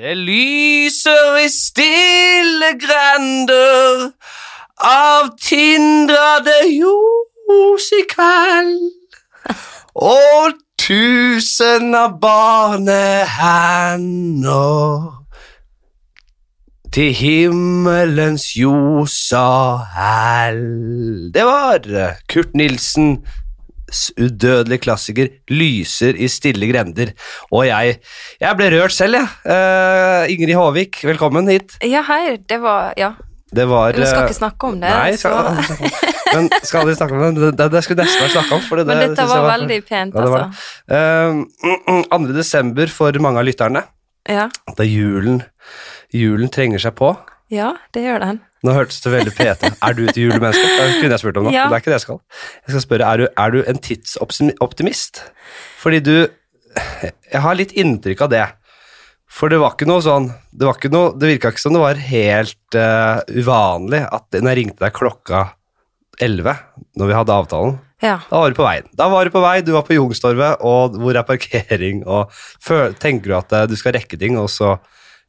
Det lyser i stille grender av tindrede ljos i kveld. Og tusen av barnehender til himmelens ljos og hell. Det var Kurt Nilsen udødelige klassiker lyser i stille grender. Og jeg, jeg ble rørt selv, jeg. Eh, Ingrid Håvik, velkommen hit. Ja, hei, det var Ja, Det var vi skal eh, ikke snakke om det. Nei, så- skal, men skal aldri snakke om det. Det, det, det skulle nesten vært snakka om. For det, Men det dette synes var jeg veldig pent, Ja, det var det. altså. Eh, mm, mm, 2. desember for mange av lytterne. Ja, Det er julen. Julen trenger seg på. ja, det gjør den. Nå hørtes det veldig PT. Er du et julemenneske? Det kunne jeg spurt om nå. Ja. men Det er ikke det jeg skal. Jeg skal spørre, er du, er du en tidsoptimist? Fordi du Jeg har litt inntrykk av det. For det var ikke noe sånn Det, var ikke noe, det virka ikke som det var helt eh, uvanlig at når jeg ringte deg klokka 11 når vi hadde avtalen, Ja. da var du på veien. Da var du på vei, du var på Youngstorget, og hvor er parkering, og fø- tenker du at eh, du skal rekke ting, og så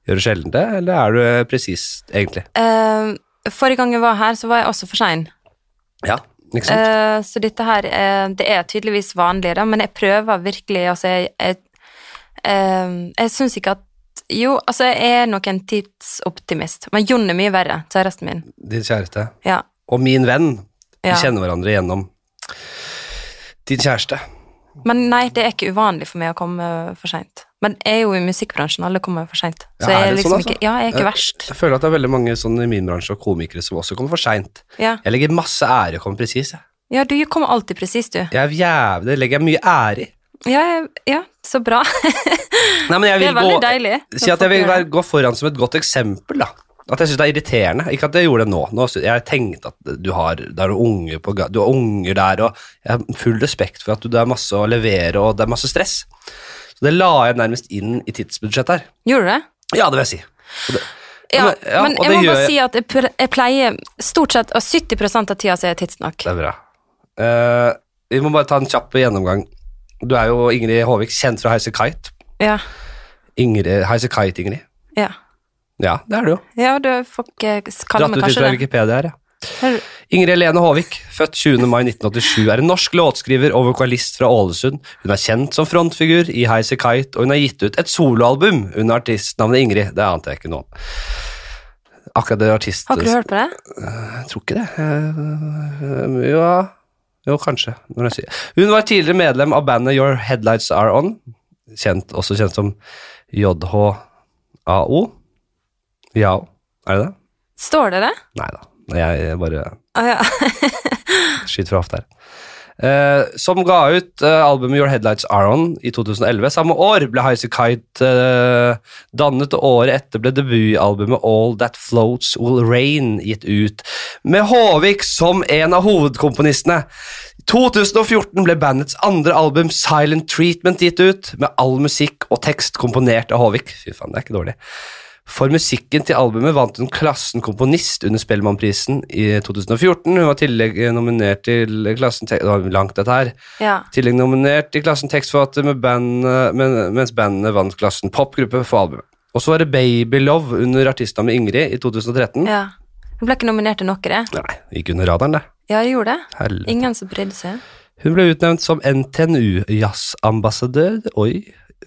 gjør du sjelden det, eller er du eh, presis, egentlig? Eh, forrige gang jeg var her, så var jeg også for sein. Ja, ikke sant? Eh, så dette her, eh, det er tydeligvis vanlig, da, men jeg prøver virkelig, altså jeg Jeg, eh, jeg syns ikke at Jo, altså jeg er nok en tidsoptimist, men Jon er mye verre, kjæresten min. Din kjæreste. Ja. Og min venn. Ja. Vi kjenner hverandre gjennom din kjæreste. Men nei, det er ikke uvanlig for meg å komme for seint. Men jeg er jo i musikkbransjen, alle kommer for seint. Så Ja, er jeg er det liksom sånn, altså? ikke Ja, jeg er Ja. ikke verst. Jeg føler at det er veldig mange sånn i min bransje og komikere som også kommer for seint. Ja. Jeg legger masse ære i å komme presis. jeg. ja, du kommer alltid presis, du. Jeg er jævlig, det legger jeg mye ære i. Ja, jeg- ja, så bra. Nei, men jeg Det vil er gå, veldig deilig. si at jeg vil være, gå foran som et godt eksempel, da. At jeg syns det er irriterende. Ikke at jeg gjorde det nå. nå sy- jeg tenkte at du har, det er noen unge på, ga- du har unger der, og jeg har full respekt for at du, det er masse å levere, og det er masse stress. Så det la jeg nærmest inn i tidsbudsjettet her. Gjorde du det? Ja, det vil jeg si. Og det, Ja, men- ja, men og jeg det må gjør bare jeg- si at jeg pr- jeg pleier stort sett og 70 av tida så er jeg tidsnok. det er bra. Eh, vi må bare ta en kjapp gjennomgang. Du er jo Ingrid Håvik, kjent fra Heise Kite. Ja. Ingrid, Heise Kite, Ingrid. Ja. Ja, det er du jo. ja, du får ikke kalle Dratt meg ut litt fra kanskje det. Wikipedia her, ja. Hør- Ingrid Helene Håvik, født 20. mai 1987, er en norsk låtskriver og vokalist fra Ålesund. Hun er kjent som frontfigur i Heise Kite, og hun har gitt ut et soloalbum under artistnavnet Ingrid. Det ante jeg ikke nå. Akkurat det artist... Har ikke du hørt på det? Jeg tror ikke det. Eh, eh, Ja Jo, kanskje. Når jeg sier. Hun var tidligere medlem av bandet Your Headlights Are On, kjent, også kjent som JHAO. Jao, er det det? Står det det? Nei da. Jeg bare Å ja. Skyt fra hofta her. Eh, som ga ut eh, albumet Your Headlights Are On i 2011. Samme år ble Highasy Kite eh, dannet, og året etter ble debutalbumet All That Floats Will Rain gitt ut, med Håvik som en av hovedkomponistene. I 2014 ble bandets andre album Silent Treatment gitt ut, med all musikk og tekst komponert av Håvik. Fy faen, det er ikke dårlig. For musikken til albumet vant hun Klassen komponist under Spellemannprisen i 2014. Hun var i tillegg eh, nominert til Klassen Te- Det var langt, dette her. ja. I tillegg nominert til Klassen tekstforfatter med bandet- men, mens bandet vant Klassen popgruppe for albumet. Og så var det Baby Love under artistnavnet Ingrid i 2013. ja. Jeg ble ikke nominert til noe, det. Nei, det gikk under radaren, det. Ja, jeg gjorde det. Helvete. Ingen som brydde seg. Hun ble utnevnt som NTNU-jazzambassadør oi,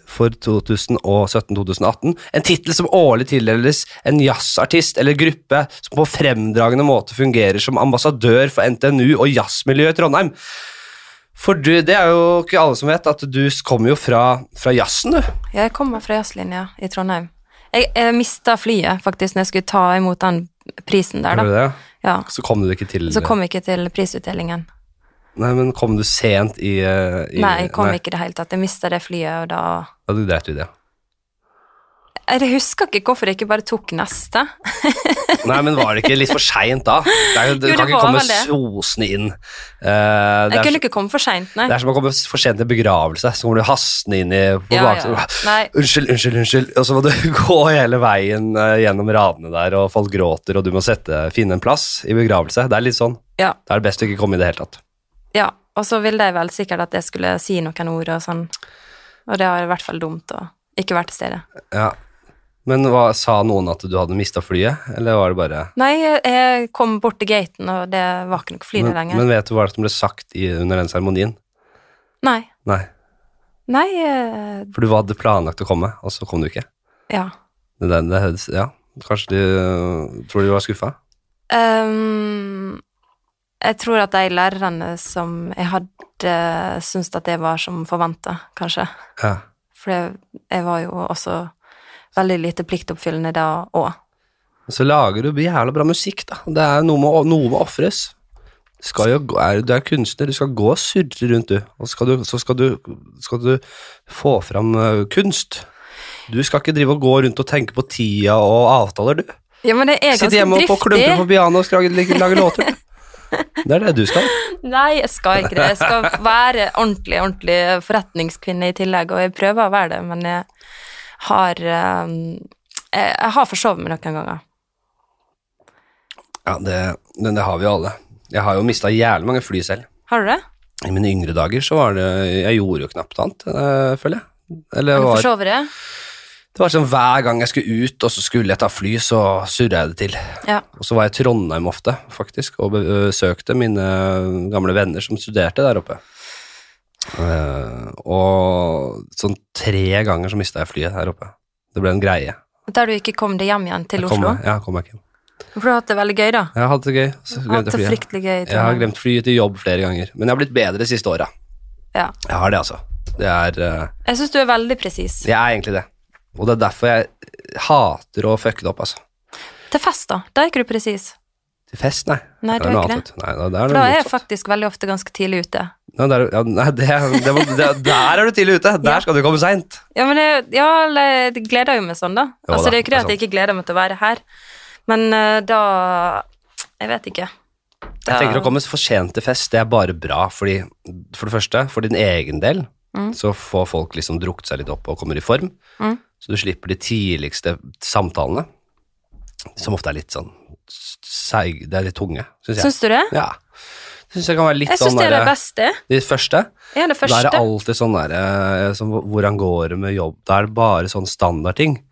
for 2017-2018. En tittel som årlig tildeles en jazzartist eller gruppe som på fremdragende måte fungerer som ambassadør for NTNU og jazzmiljøet i Trondheim. For du, det er jo ikke alle som vet, at du kommer jo fra, fra jazzen, du. Jeg kommer fra jazzlinja i Trondheim. Jeg, jeg mista flyet, faktisk, når jeg skulle ta imot den prisen der, Gjorde da. du det? Ja. Så kom du ikke til Så kom jeg ikke til prisutdelingen. Nei, men kom du sent i, eh, i Nei, jeg kom nei, ikke i det hele tatt. Jeg mista det flyet, og da Ja, du dreit i det. Jeg husker ikke hvorfor jeg ikke bare tok neste. Nei, men var det ikke litt for seint da? Det er, jo- du Jo, det kan ikke var komme vel det. sosende inn. Eh, det, Jeg er, kunne ikke komme for seint, nei. det er som å komme for sent til en begravelse, så kommer du hastende inn i, på Ja, baksiden. ja. Nei, Unnskyld, unnskyld, unnskyld. Og så må du gå hele veien eh, gjennom radene der, og folk gråter, og du må sette, finne en plass i begravelse. Det er litt sånn. ja. Da er det best å ikke komme i det hele tatt. ja. Og så ville de vel sikkert at jeg skulle si noen ord og sånn. Og det var i hvert fall dumt å ikke være til stede. Ja. Men hva, sa noen at du hadde mista flyet, eller var det bare Nei, jeg- jeg kom bort til gaten, og det var ikke noe fly der men, lenger. men vet du hva som ble sagt i, under den seremonien? Nei. Nei. Nei eh, For du hadde planlagt å komme, og så kom du ikke. Ja. Det, der- det, høres- ja. Kanskje de øh, Tror de var skuffa? Ehm, jeg tror at de lærerne som jeg hadde, syntes at det var som forventa, kanskje. Ja. For jeg, jeg var jo også veldig lite pliktoppfyllende da òg. Så lager du jævla bra musikk, da. Det er noe med, å- noe med å ofres. Du skal jo gå- er- Du er kunstner, du skal gå og surre rundt, du. Og så skal du, så skal du, skal du få fram øh, kunst. Du skal ikke drive og gå rundt og tenke på tida og avtaler, du. Ja, men det er Sitte ganske hjemme og på klumper på driftig. pianoet og skrage- lage lage låter. du. Det er det du skal. Nei, jeg skal ikke det. Jeg skal være ordentlig, ordentlig forretningskvinne i tillegg, og jeg prøver å være det, men jeg har ehm, jeg, jeg har forsovet meg noen ganger. Ja, det, men det har vi jo alle. Jeg har jo mista jævlig mange fly selv. Har du det? I mine yngre dager så var det Jeg gjorde jo knapt annet, eh, føler jeg. Eller Har du var, forsovet det? det var sånn hver gang jeg skulle ut, og så skulle jeg ta fly, så surra jeg det til. Ja. Og så var jeg i Trondheim ofte, faktisk, og besøkte mine gamle venner som studerte der oppe. Eh, og sånn tre ganger så mista jeg flyet der oppe. Det ble en greie. Der du ikke kom deg hjem igjen til Jeg kom, Oslo? meg- ja, kom meg ikke. For du har hatt det veldig gøy, da. Jeg hadde det gøy. Så Jeg har hatt glemte det jeg flyet. fryktelig gøy. i Jeg har Trondheim. glemt flyet til jobb flere ganger, men jeg har blitt bedre de siste åra. Ja. Jeg har det, altså. Det er eh, Jeg syns du er veldig presis. Jeg er egentlig det. Og det er derfor jeg eh, hater å fucke det opp, altså. Til fest, da. Da er ikke du presis. Til fest, nei. Nei, Det du er er noe ikke annet, vet det. du. Nei, da- det er noe For da er jeg motsatt. faktisk veldig ofte ganske tidlig ute. Nei, det er, ja, nei det, det, må- det, der er du tidlig ute. Der Ja. skal du komme seint. Ja, men jeg, ja, eller jeg gleder jo meg sånn, da. Jo altså, da, det er jo ikke det det er at jeg ikke gleder meg til å være her, men eh, da Jeg vet ikke. Jeg Da- tenker å komme for sent til fest, det er bare bra fordi, for det første, for din egen del, Mm. så får folk liksom drukt seg litt opp og kommer i form. Mm. Så du slipper de tidligste samtalene, som ofte er litt sånn seig, det er litt tunge, syns jeg. Syns du det? ja. Det syns jeg kan være litt Jeg syns sånn det er det derre beste. De første. Da er Ja, det det første. alltid sånn der, eh, som, Hvordan går det med jobb? Da er det bare sånn standardting.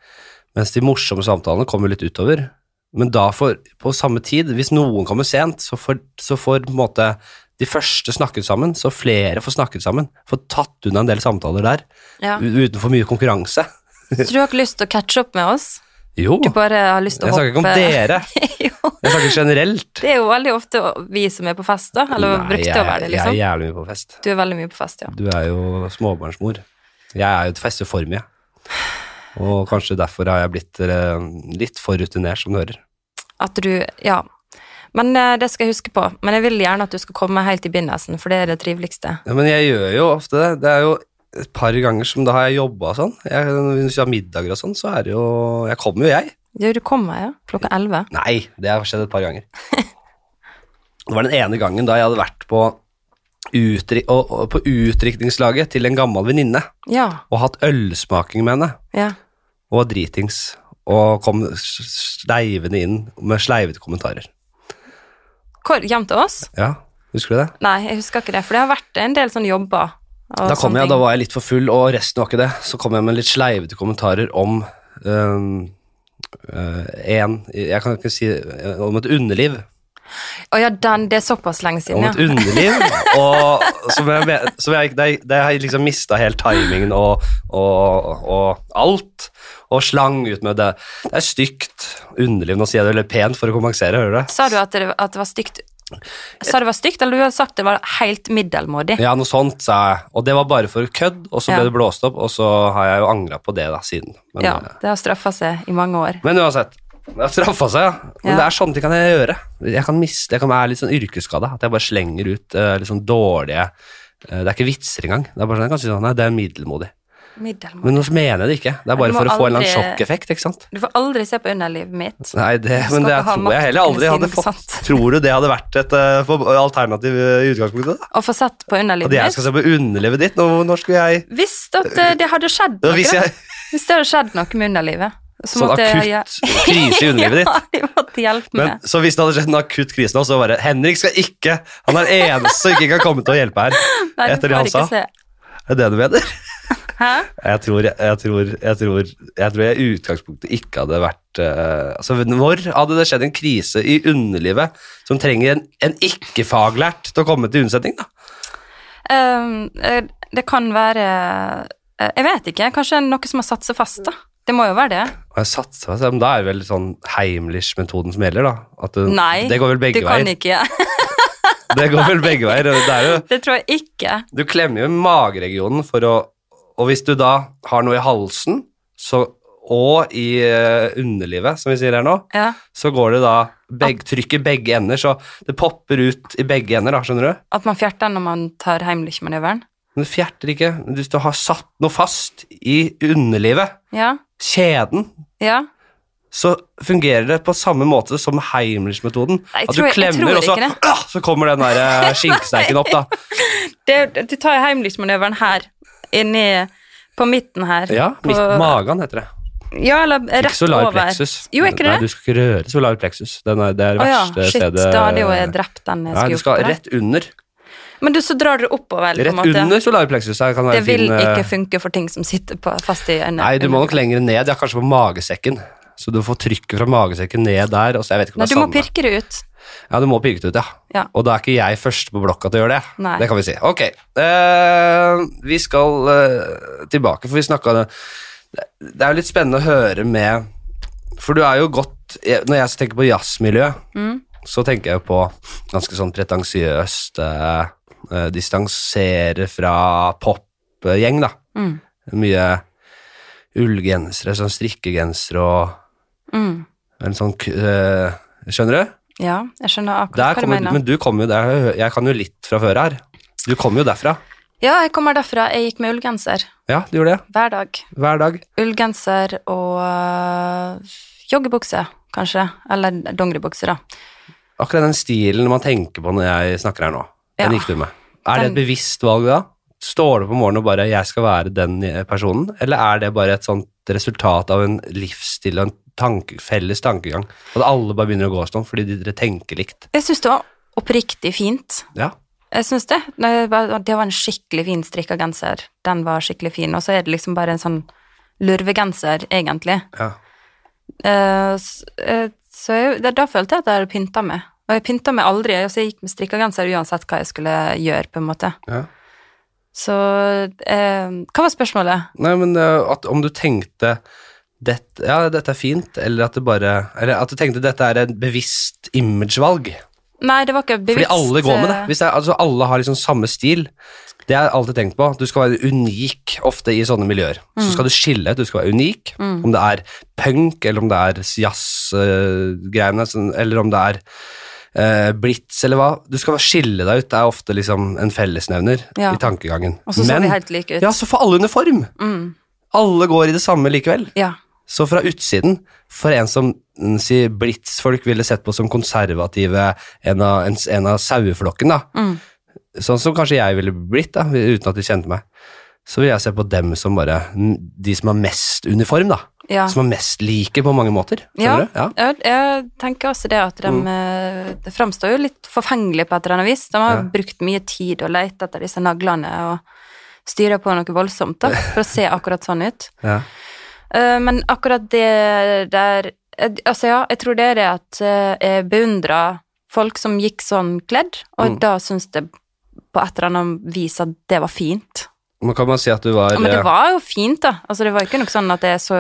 Mens de morsomme samtalene kommer litt utover. Men da får, på samme tid, hvis noen kommer sent, så får, så får på en måte, de første snakket sammen, så flere får snakket sammen. Får tatt unna en del samtaler der, Ja. u- uten for mye konkurranse. Så du har ikke lyst til å catche opp med oss? Jo, Du jeg bare har lyst til å snakker ikke om hoppe dere. jo, Jeg snakker generelt. det er jo veldig ofte vi som er på fest, da. Eller Nei, brukte å jeg- være det, Jeg er liksom. jævlig mye på fest. Du er veldig mye på fest, ja. Du er jo småbarnsmor. Jeg er jo et festeform, jeg. Og kanskje derfor har jeg blitt eh, litt for rutinert, som du hører. At du Ja. Men eh, det skal jeg huske på. Men jeg vil gjerne at du skal komme helt i begynnelsen, for det er det triveligste. Ja, men jeg gjør jo ofte det. Det er jo et par ganger som da har jeg jobba og sånn. Jeg, hvis vi har middager og sånn, så er det jo Jeg kommer jo, jeg. Ja, du kommer, ja. Klokka elleve. Nei, det har skjedd et par ganger. Det var den ene gangen da jeg hadde vært på, utri og, og, på utdrikningslaget til en gammel venninne Ja. og hatt ølsmaking med henne. Ja. og var dritings og kom sleivende inn med sleivete kommentarer. Hvor, hjem til oss? Ja, husker du det? Nei, jeg husker ikke det, for det har vært en del sånne jobber. og Da kom sånne jeg, da ting. var jeg litt for full, og resten var ikke det. Så kom jeg med litt sleivete kommentarer om øhm, øh, en, jeg kan ikke si øh, om et underliv. Å ja, den, det er såpass lenge siden, Om et ja. underliv, og som jeg, men- som jeg, det, det har jeg liksom mista helt timingen og, og, og alt. Og slang ut med det. Det er stygt underliv. Nå sier jeg det veldig pent for å kompensere, hører du det? Sa du at det, at det var stygt? Sa det var stygt, eller du har sagt det var helt middelmådig? Ja, noe sånt, sa jeg. Og det var bare for kødd, og så Ja. ble det blåst opp, og så har jeg jo angra på det da, siden. Men, eh, Ja, det har straffa seg i mange år. men uansett. Det har straffa seg, ja. Men Ja. det er sånne ting kan jeg gjøre. Jeg kan miste, jeg kan være litt sånn yrkesskada. At jeg bare slenger ut eh, litt sånn dårlige eh, Det er ikke vitser engang. Det er bare sånn, jeg kan si sånn, nei, det er middelmådig. Middelmådig. Men nå mener jeg det ikke. Det er Du bare må for å få en eller annen aldri- sjokkeffekt, ikke sant. Du får aldri se på underlivet mitt. Nei, det, Du men skal det ikke ha tror jeg heller makt aldri hadde eller fått. sant. Tror du det hadde vært et eh, for- alternativ eh, i utgangspunktet? da? Å få sett på At underlivet jeg mitt skal se på underlivet ditt? Når, når skulle jeg Hvis at eh, det hadde skjedd noe, Hvis da. jeg Hvis det hadde skjedd noe med underlivet så Sånn måtte jeg- akutt krise i underlivet Ja, ditt. de måtte hjelpe Men, meg. så hvis det hadde skjedd en akutt krise nå, så bare Henrik skal ikke Han er den eneste som ikke kan komme til å hjelpe her. Nei, du etter det får han ikke sa. se. Er det det du mener? Hæ? Jeg tror jeg, tror, jeg, tror, jeg tror jeg i utgangspunktet ikke hadde vært eh, altså Når hadde det skjedd en krise i underlivet som trenger en, en ikke-faglært til å komme til unnsetning? da? Ehm, eh, det kan være eh, Jeg vet ikke. Kanskje noe som har satt seg fast, da. Det må jo være det. Og jeg satser, altså, men Da er det vel sånn Heimlich-metoden som gjelder, da? At det, Nei, det går vel Du begge kan veier. ikke. Det går vel begge veier. og Det er jo, Det tror jeg ikke. du klemmer jo i mageregionen for å Og hvis du da har noe i halsen så, og i eh, underlivet, som vi sier her nå, Ja. så går det da begge, trykk i begge ender, så det popper ut i begge ender, da, skjønner du? At man fjerter den når man tar Heimlich-manøveren. Men du fjerter ikke. Hvis du har satt noe fast i underlivet, Ja. kjeden, Ja. så fungerer det på samme måte som Heimlich-metoden. Nei, jeg At du tror- jeg klemmer, tror og så, ikke «Åh!» så kommer den der eh, skinkestekken opp, da. Det, du tar Heimlich-manøveren her, inni på midten her. Ja, på, midt magen heter det. Ja, eller Ikke rett solar over. plexus. Jo, er ikke Nei, det? du skal ikke røre solar plexus. Den er, det er det Å ja, verste shit, stedet da hadde jo jeg drept den Nei, jeg skulle du gjort skal på det. rett under. Men du, så drar dere oppover, på en Rett måte. under solar plexus. her Kan være det vil fin, eh, ikke funke for ting som sitter på, fast i øynene. Nei, du må nok lenger ned. Ja, kanskje på magesekken. Så du får trykket fra magesekken ned der. Og så, jeg vet ikke om Nei, det du er må samme. pirke det ut. Ja, du må pirke det ut, ja. Ja. Og da er ikke jeg først på blokka til å gjøre det. Nei. Det kan vi si. Ok, eh, vi skal eh, tilbake, for vi snakka det Det er jo litt spennende å høre med For du er jo godt jeg- Når jeg tenker på jazzmiljø, Mm. så tenker jeg på ganske sånn pretensiøst eh, eh, Distansere fra popgjeng, da. Mm. Mye ullgensere, sånn strikkegensere og Mm. en sånn k- eh, Skjønner du? Ja, jeg Der skjønner akkurat hva du kommer, mener. men du kommer jo der, jeg kan jo litt fra før her. Du kommer jo derfra. Ja, jeg kommer derfra. Jeg gikk med ullgenser Ja, du gjør det. hver dag. Hver dag. Ullgenser og øh, joggebukse, kanskje. Eller dongeribukse, da. Akkurat den stilen man tenker på når jeg snakker her nå, den Ja. gikk du med. Er det et Den- bevisst valg da? Står du på morgenen og bare 'jeg skal være den personen', eller er det bare et sånt resultat av en livsstil og en tanke, felles tankegang? At alle bare begynner å gå sånn fordi de- dere tenker likt. Jeg syns det var oppriktig fint. Ja. Jeg synes det. Nei, Det var det var en skikkelig fin strikka genser. Den var skikkelig fin. Og så er det liksom bare en sånn lurvegenser, egentlig. ja. Eh, s- eh, Så jeg, da- da følte jeg at jeg hadde pynta meg. Og jeg pynta meg aldri. Altså, jeg gikk med strikka genser uansett hva jeg skulle gjøre, på en måte. ja. Så eh, Hva var spørsmålet? Nei, men eh, at om du tenkte dette, ja, dette er fint, eller at, det bare, eller at du tenkte dette er et bevisst imagevalg. Nei, det var ikke bevisst. Fordi alle går med det. eh, Hvis det er, altså, alle har liksom samme stil. Det har jeg alltid tenkt på. Du skal være unik ofte i sånne miljøer. Så Mm. skal du skille ut, du skal være unik. Om det er punk, eller om det er jazz-greiene, sånn, eller om det er eh, blitz, eller hva. Du skal skille deg ut. Det er ofte liksom en fellesnevner Ja. i tankegangen. Og så så vi helt like ut. ja, så får alle uniform. Mm. Alle går i det samme likevel. eh, Ja. Så fra utsiden, for en som mm, si, blitz-folk ville sett på som konservative, en av, en, en av saueflokken, da. Mm. Sånn som kanskje jeg ville blitt, da, uten at de kjente meg. Så vil jeg se på dem som bare mm, De som har mest uniform, da. ja. Som er mest like på mange måter. Skjønner du? Ja. Mm. Jeg, jeg tenker også det at de eh, det framstår jo litt forfengelig på et eller annet vis. De Ja. har brukt mye tid og lett etter disse naglene og styrer på noe voldsomt da, for å se akkurat sånn ut. Ja. Eh, men akkurat det der eh, Altså ja, jeg tror det er det at eh, jeg beundrer folk som gikk sånn kledd, og Mm. da syns jeg på et eller annet vis at det var fint. Men kan man si at du var, Ja, men det eh, var jo fint, da. Altså, det var ikke noe sånn at det er så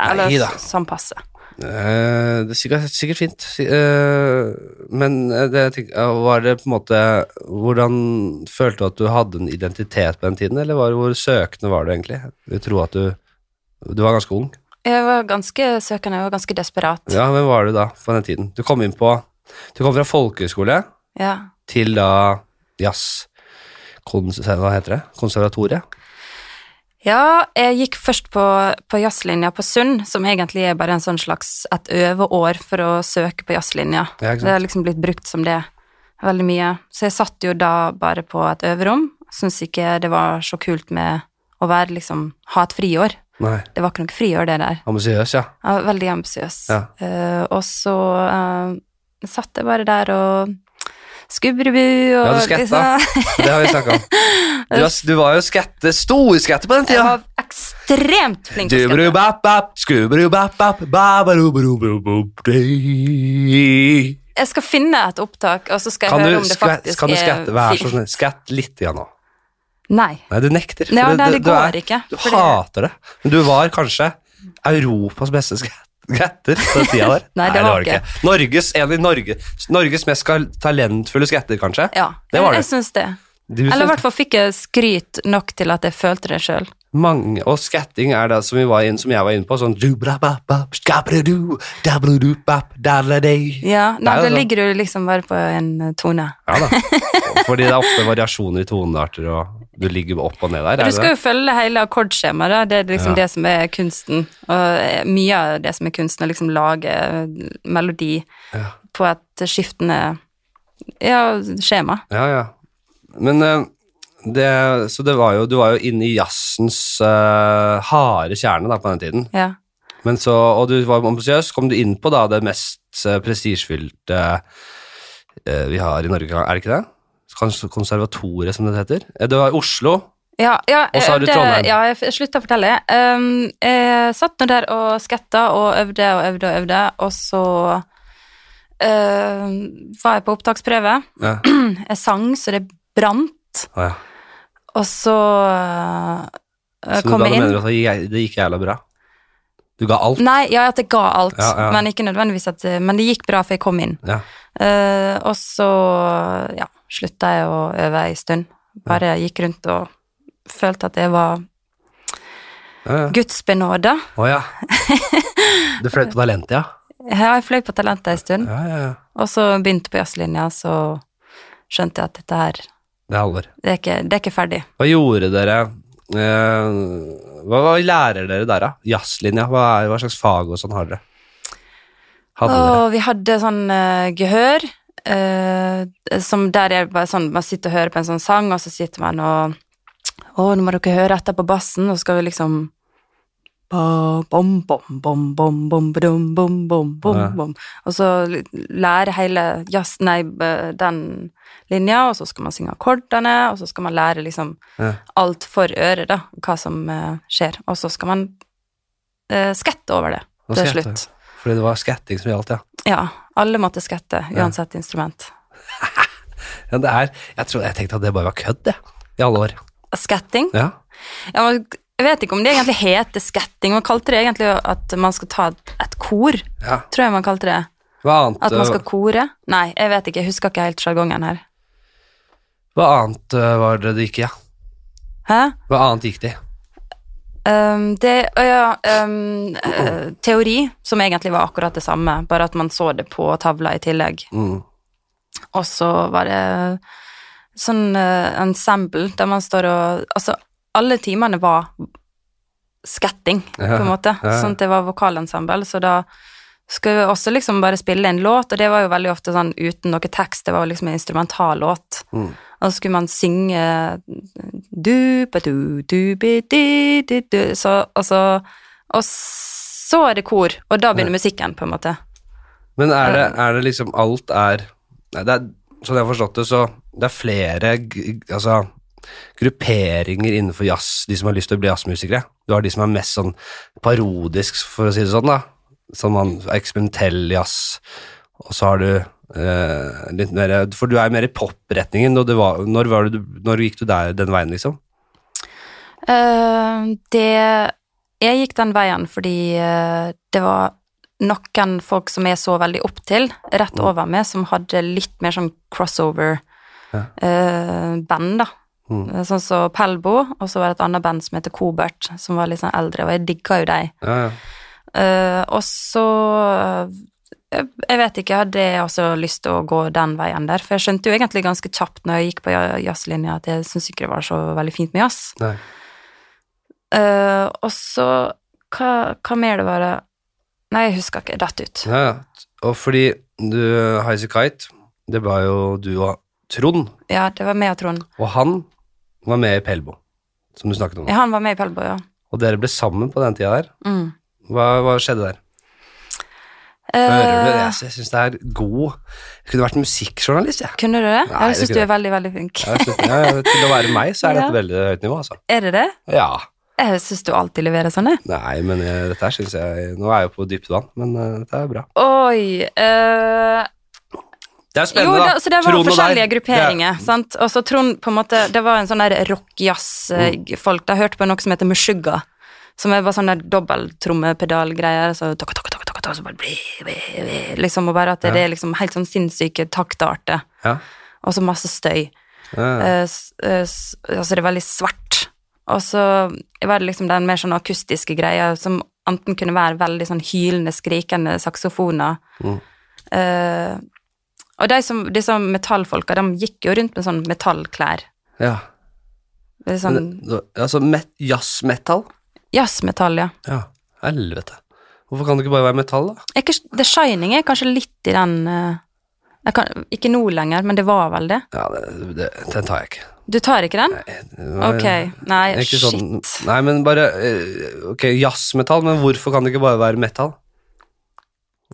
Eller Neida. sånn passe. Eh, det er sikkert, sikkert fint, si- eh, men eh, det, jeg tenker- eh, var det på en måte Hvordan følte du at du hadde en identitet på den tiden, eller var, hvor søkende var du egentlig? Jeg tror at du Du var ganske ung. Jeg var ganske søkende, jeg var ganske desperat. Ja, hvem var du da på den tiden? Du kom inn på Du kom fra folkehøyskole Ja. til da jazz... Kons hva heter det? Konservatoriet? Ja, jeg gikk først på, på jazzlinja på Sund, som egentlig er bare en sånn slags et øveår for å søke på jazzlinja. Ja, ikke Det har sant? liksom blitt brukt som det veldig mye. Så jeg satt jo da bare på et øverom. Syns ikke det var så kult med å være liksom Ha et friår. Nei. Det var ikke noe friår, det der. Ambisiøs, ja. Jeg var veldig ambisiøs. Ja. Eh, og så eh, satt jeg bare der og Skubberubu og Ja, liksom- du skatta. Det har vi snakka om. Du, har, du var jo skatte, storskatte på den Jeg tida. var ekstremt flink til å skatte. Dubberubap-bap, skubberubap-bap, babarubberubberubberubberubberubberubberubberubberubberubberubberubberubberubberubberubberubberubberubberubberubberubberubberubberubberubberubberubberubberubberubberubberubberubberubberubberubberubberubberubberubber Jeg skal finne et opptak, og så skal Kan du, jeg høre om det skvæ- faktisk kan du skatte? Vær så film. snill, skatt litt igjen nå. Nei. Nei, du nekter. for Nei, nei, du- det du går er- ikke. Du fordi- hater det. Men du var kanskje Europas beste skatt- skatter på den tida der. Nei, det var du ikke. Norges, en av Norge, Norges mest skal- talentfulle skatter, kanskje? Ja, Det var jeg, det. jeg syns det. Du Eller i synes hvert fall fikk jeg skryt nok til at jeg følte det sjøl. mange, og skatting er det som, vi var inn, som jeg var inne på, sånn dubrababab, skabredu, dabrudubab, dadladei. Ja, nei, Det er jo da sånn. ligger du liksom bare på en tone. Ja da. Fordi det er ofte variasjoner i tonearter, og du ligger opp og ned der. er Du det skal det? jo følge hele akkordskjemaet, da. Det er liksom Ja. det som er kunsten. Og eh, mye av det som er kunsten, er liksom lage eh, melodi Ja. på et skiftende ja, skjema. Ja, ja. Men eh, det, Så det var jo, du var jo inne i jazzens eh, harde kjerne da, på den tiden. Ja. Men så, og du var ambisiøs, kom du inn på da det mest eh, prestisjefylte eh, vi har i Norge, er det ikke det? Kons- Konservatoriet, som det heter. Eh, Det var i Oslo. Ja, ja, Og så har du jeg øvde- Trondheim. Ja, jeg f- slutta å fortelle. Um, jeg satt nå der og skatta og øvde og øvde og øvde, og så um, var jeg på opptaksprøve. Ja. Jeg sang så det brant, Å, ja. og så uh, Så kom da du jeg inn. mener at det gikk- det gikk jævla bra? Du ga alt? Nei, ja, at jeg ga alt, Ja, ja. men ikke nødvendigvis at uh, Men det gikk bra, for jeg kom inn. Ja. Eh, og så, ja, slutta jeg å øve ei stund. Bare gikk rundt og følte at jeg var Å ja. gudsbenåda. Å, ja. Du fløy på talentet, ja? Ja, jeg fløy på talentet ei stund, Ja, ja, ja. og så begynte på jazzlinja, så skjønte jeg at dette her, Det er alvor. det er ikke, det er ikke ferdig. Hva gjorde dere eh, hva, hva lærer dere der, da? Jazzlinja? Hva, er, hva slags fag og sånn har dere? Hadde dere? Og vi hadde sånn eh, gehør, eh, som der er bare sånn, man sitter og hører på en sånn sang, og så sitter man og Å, nå må dere høre etter på bassen, og så skal vi liksom ba, bom, bom, bom, bom, bom, bom, bom, bom, bom, Ja. bom. Og så l- lære hele jazz, nei, b- den linja, og så skal man synge akkordene, og så skal man lære liksom Ja. alt for øret, da, hva som eh, skjer. Og så skal man eh, skette over det Og til skatte. slutt. Fordi det var skatting som gjaldt, ja. Ja, alle måtte skatte, Ja. uansett instrument. ja det er, jeg, tror, jeg tenkte at det bare var kødd, jeg. I alle år. Skatting? Ja. Ja, man, jeg vet ikke om det egentlig heter skatting. Man kalte det egentlig at man skal ta et kor, ja. tror jeg man kalte det. Hva annet, At man skal eh, kore. Nei, jeg vet ikke, jeg husker ikke helt sjargongen her. hva annet eh, var det det gikk i, ja? Hæ? Hva annet gikk det i? Um, det, å ja, um, eh, teori, som egentlig var akkurat det samme, bare at man så det på tavla i tillegg. Mm. Og så var det sånn eh, ensemble der man står og Altså, alle timene var skatting, Ja, på en måte. ja. Sånn at det var vokalensemble, så da skulle vi også liksom bare spille en låt, og det var jo veldig ofte sånn uten noe tekst, det var jo liksom en instrumentallåt. Mm. Og så skulle man synge du, ba, du, du, bi, di, di, du. Så, og så Og så er det kor, og da begynner musikken, på en måte. Men er det, er det liksom alt er Nei, det er Sånn jeg har forstått det, så det er flere g- altså, grupperinger innenfor jazz, de som har lyst til å bli jazzmusikere. Du har de som er mest sånn parodisk, for å si det sånn, da. Som man, eksperimentell jazz. Og så har du eh, litt mer For du er mer i popretningen. og det var- Når, var det du- når gikk du der den veien, liksom? Eh, det Jeg gikk den veien fordi eh, det var noen folk som jeg så veldig opp til, rett Mm. over meg, som hadde litt mer sånn crossover-band, Ja. da. Mm. Eh, Sånn som Pelbo, og så var det et annet band som heter Cobert, som var litt sånn eldre, og jeg digga jo dem. Ja, ja. Eh, og så eh, jeg, jeg vet ikke, jeg hadde også lyst til å gå den veien der, for jeg skjønte jo egentlig ganske kjapt når jeg gikk på ja- jazzlinja at jeg syntes ikke det var så veldig fint med jazz. Nei. Eh, og så hva, hva mer det var det Nei, jeg husker ikke. Datt ut. Ja, ja. Og fordi du, Highasy Kite, det var jo du og Trond Ja, det var meg og Trond. Og han var med i Pelbo, som du snakket om. Ja, han var med i Pelbo, ja. Og dere ble sammen på den tida der. Mm. Hva, hva skjedde der? Hører Eh. du det? Jeg sy- Jeg syns det er god Jeg kunne vært musikkjournalist, jeg. Kunne du det? Nei, jeg det syns kunne du jeg er veldig, veldig flink. Ja, jeg synes- ja, til å være meg, så er dette Ja. veldig høyt nivå, altså. Er det det? Ja. Jeg syns du alltid leverer sånn, jeg. Nei, men eh, dette her syns jeg Nå er jeg jo på dypt vann, men eh, dette er bra. Oi. eh, Det er jo, spennende, da. det, så det var Trond og deg. forskjellige Det grupperinger. sant? Og så Trond på en måte, Det var en sånn der Mm. rock-jazz-folk. De hørte på noe som heter Meshuggah. Som er bare sånn der dobbelttrommepedalgreier. Så, tokka, tokka, tokka, tokka, så bare bli, bli, bli, liksom, og bare at det, Ja. er liksom helt sånn sinnssyke er- taktarter. Ja. Og så Altså masse støy. Ja. Eh, s- eh, s- altså det er veldig svart. Og så var det liksom den mer sånn akustiske greia som enten kunne være veldig sånn hylende, skrikende saksofoner. Mm. Eh, og de som, disse metallfolka, de gikk jo rundt med sånn metallklær. ja. Det er Sånn Men det- Altså met- jazzmetall? jazzmetall, ja. Ja. Helvete. Hvorfor kan det ikke bare være metall, da? Er ikke, The Shining er kanskje litt i den eh, jeg kan, Ikke nå lenger, men det var vel det. Ja, det, det, Den tar jeg ikke. Du tar ikke den? Det var- Ok. Nei, det er ikke Eh, shit. sånn- Nei, men bare eh, Ok, jazzmetall, men hvorfor kan det ikke bare være metall?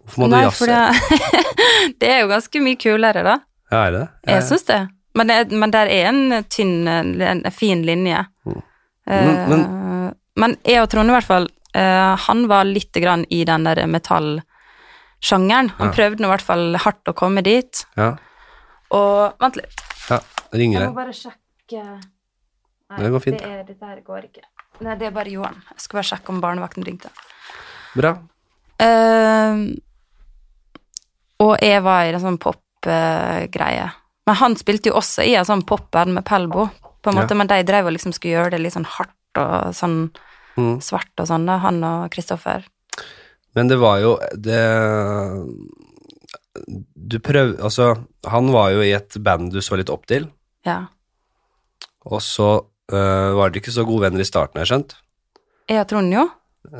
Hvorfor må du Nei, jazze? for det, det er jo ganske mye kulere, da. Ja, er det det? Jeg syns det. Men, det, men der er en tynn, en fin linje. Mm. Eh, Men- men jeg og Trond i hvert fall, eh, han var litt grann i den der metallsjangeren. Han Ja. prøvde nå i hvert fall hardt å komme dit. Ja. Og vent litt, ja. det Ringer jeg må jeg? bare sjekke Nei, Det går fint, Det er, dette her går ikke. Nei, det er bare Johan. Jeg skal bare sjekke om barnevakten ringte. Bra. Eh, og jeg var i en sånn pop-greie. Men han spilte jo også i en sånn pop-band med Pelbo, på en Ja. måte, men de drev og liksom skulle gjøre det litt sånn hardt og sånn Mm. svart og sånn, da, han og Kristoffer. Men det var jo det Du prøv... Altså, han var jo i et band du så litt opp til, Ja. og så eh, var dere ikke så gode venner i starten, har jeg skjønt? Jeg og Trond jo.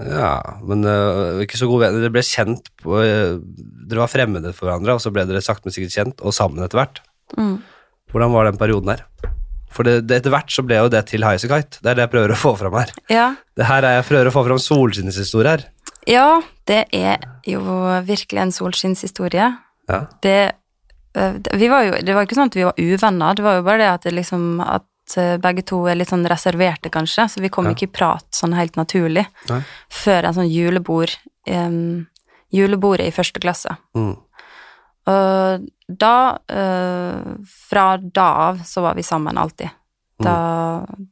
Ja, men eh, ikke så gode venner. Dere ble kjent på eh, Dere var fremmede for hverandre, og så ble dere sakte, men sikkert kjent, og sammen etter hvert. Mm. Hvordan var den perioden her? For det, det, etter hvert så ble jo det til Highasakite. Det er det jeg prøver å få fram her. Ja. Det her er jeg prøver å få fram solskinnshistorie her. ja, det er jo virkelig en solskinnshistorie. Ja. Det, eh, det- vi var jo, det var jo ikke sånn at vi var uvenner, det var jo bare det at, det liksom, at eh, begge to er litt sånn reserverte, kanskje, så vi kom Ja. ikke i prat sånn helt naturlig. Nei. før en sånn julebord em, Julebordet i første klasse. Mm. Og da eh, Fra da av så var vi sammen alltid. Da, Mm.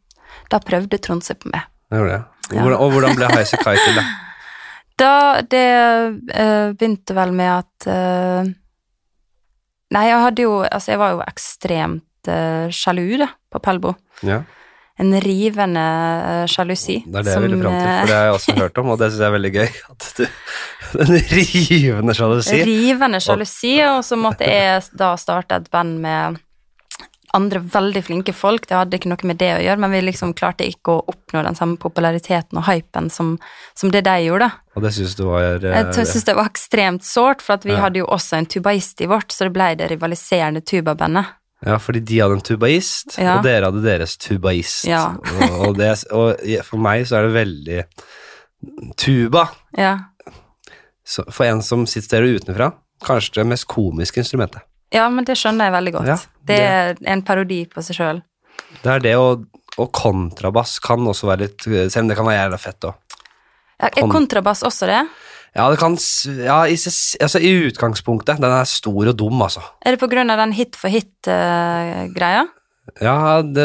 da prøvde Trond seg på meg. Jeg gjorde det. Ja. Hvordan, og hvordan ble Highasakite til, da? Da det eh, begynte vel med at eh, Nei, jeg hadde jo Altså, jeg var jo ekstremt eh, sjalu, da, på Pelbo. Ja. En rivende eh, sjalusi. Det er det jeg ville fram til, eh, for det har jeg også hørt om, og det syns jeg er veldig gøy. At du, den rivende sjalusi. eh, Rivende sjalusi, og så måtte jeg da starte et band med andre veldig flinke folk. Det hadde ikke noe med det å gjøre, men vi liksom klarte ikke å oppnå den samme populariteten og hypen som, som det de gjorde. Og det syns du var eh, Jeg tror- synes det var ekstremt sårt, for at vi Ja. hadde jo også en tubaist i vårt, så det ble det rivaliserende tubabandet. Ja, fordi de hadde en tubaist, Ja. og dere hadde deres tubaist. Ja. og, og, det, og jeg- for meg så er det veldig Tuba, Ja. så, for en som sitter der utenfra, kanskje det mest komiske instrumentet. ja, men det skjønner jeg veldig godt. Ja, det er en parodi på seg sjøl. Det er det, og, og kontrabass kan også være litt eh, Selv om det kan være jævla fett òg. Er kontrabass også det? Ja, det kan s- ja, i, ses- altså, I utgangspunktet. Den er stor og dum, altså. Er det på grunn av den hit for hit-greia? Ja, det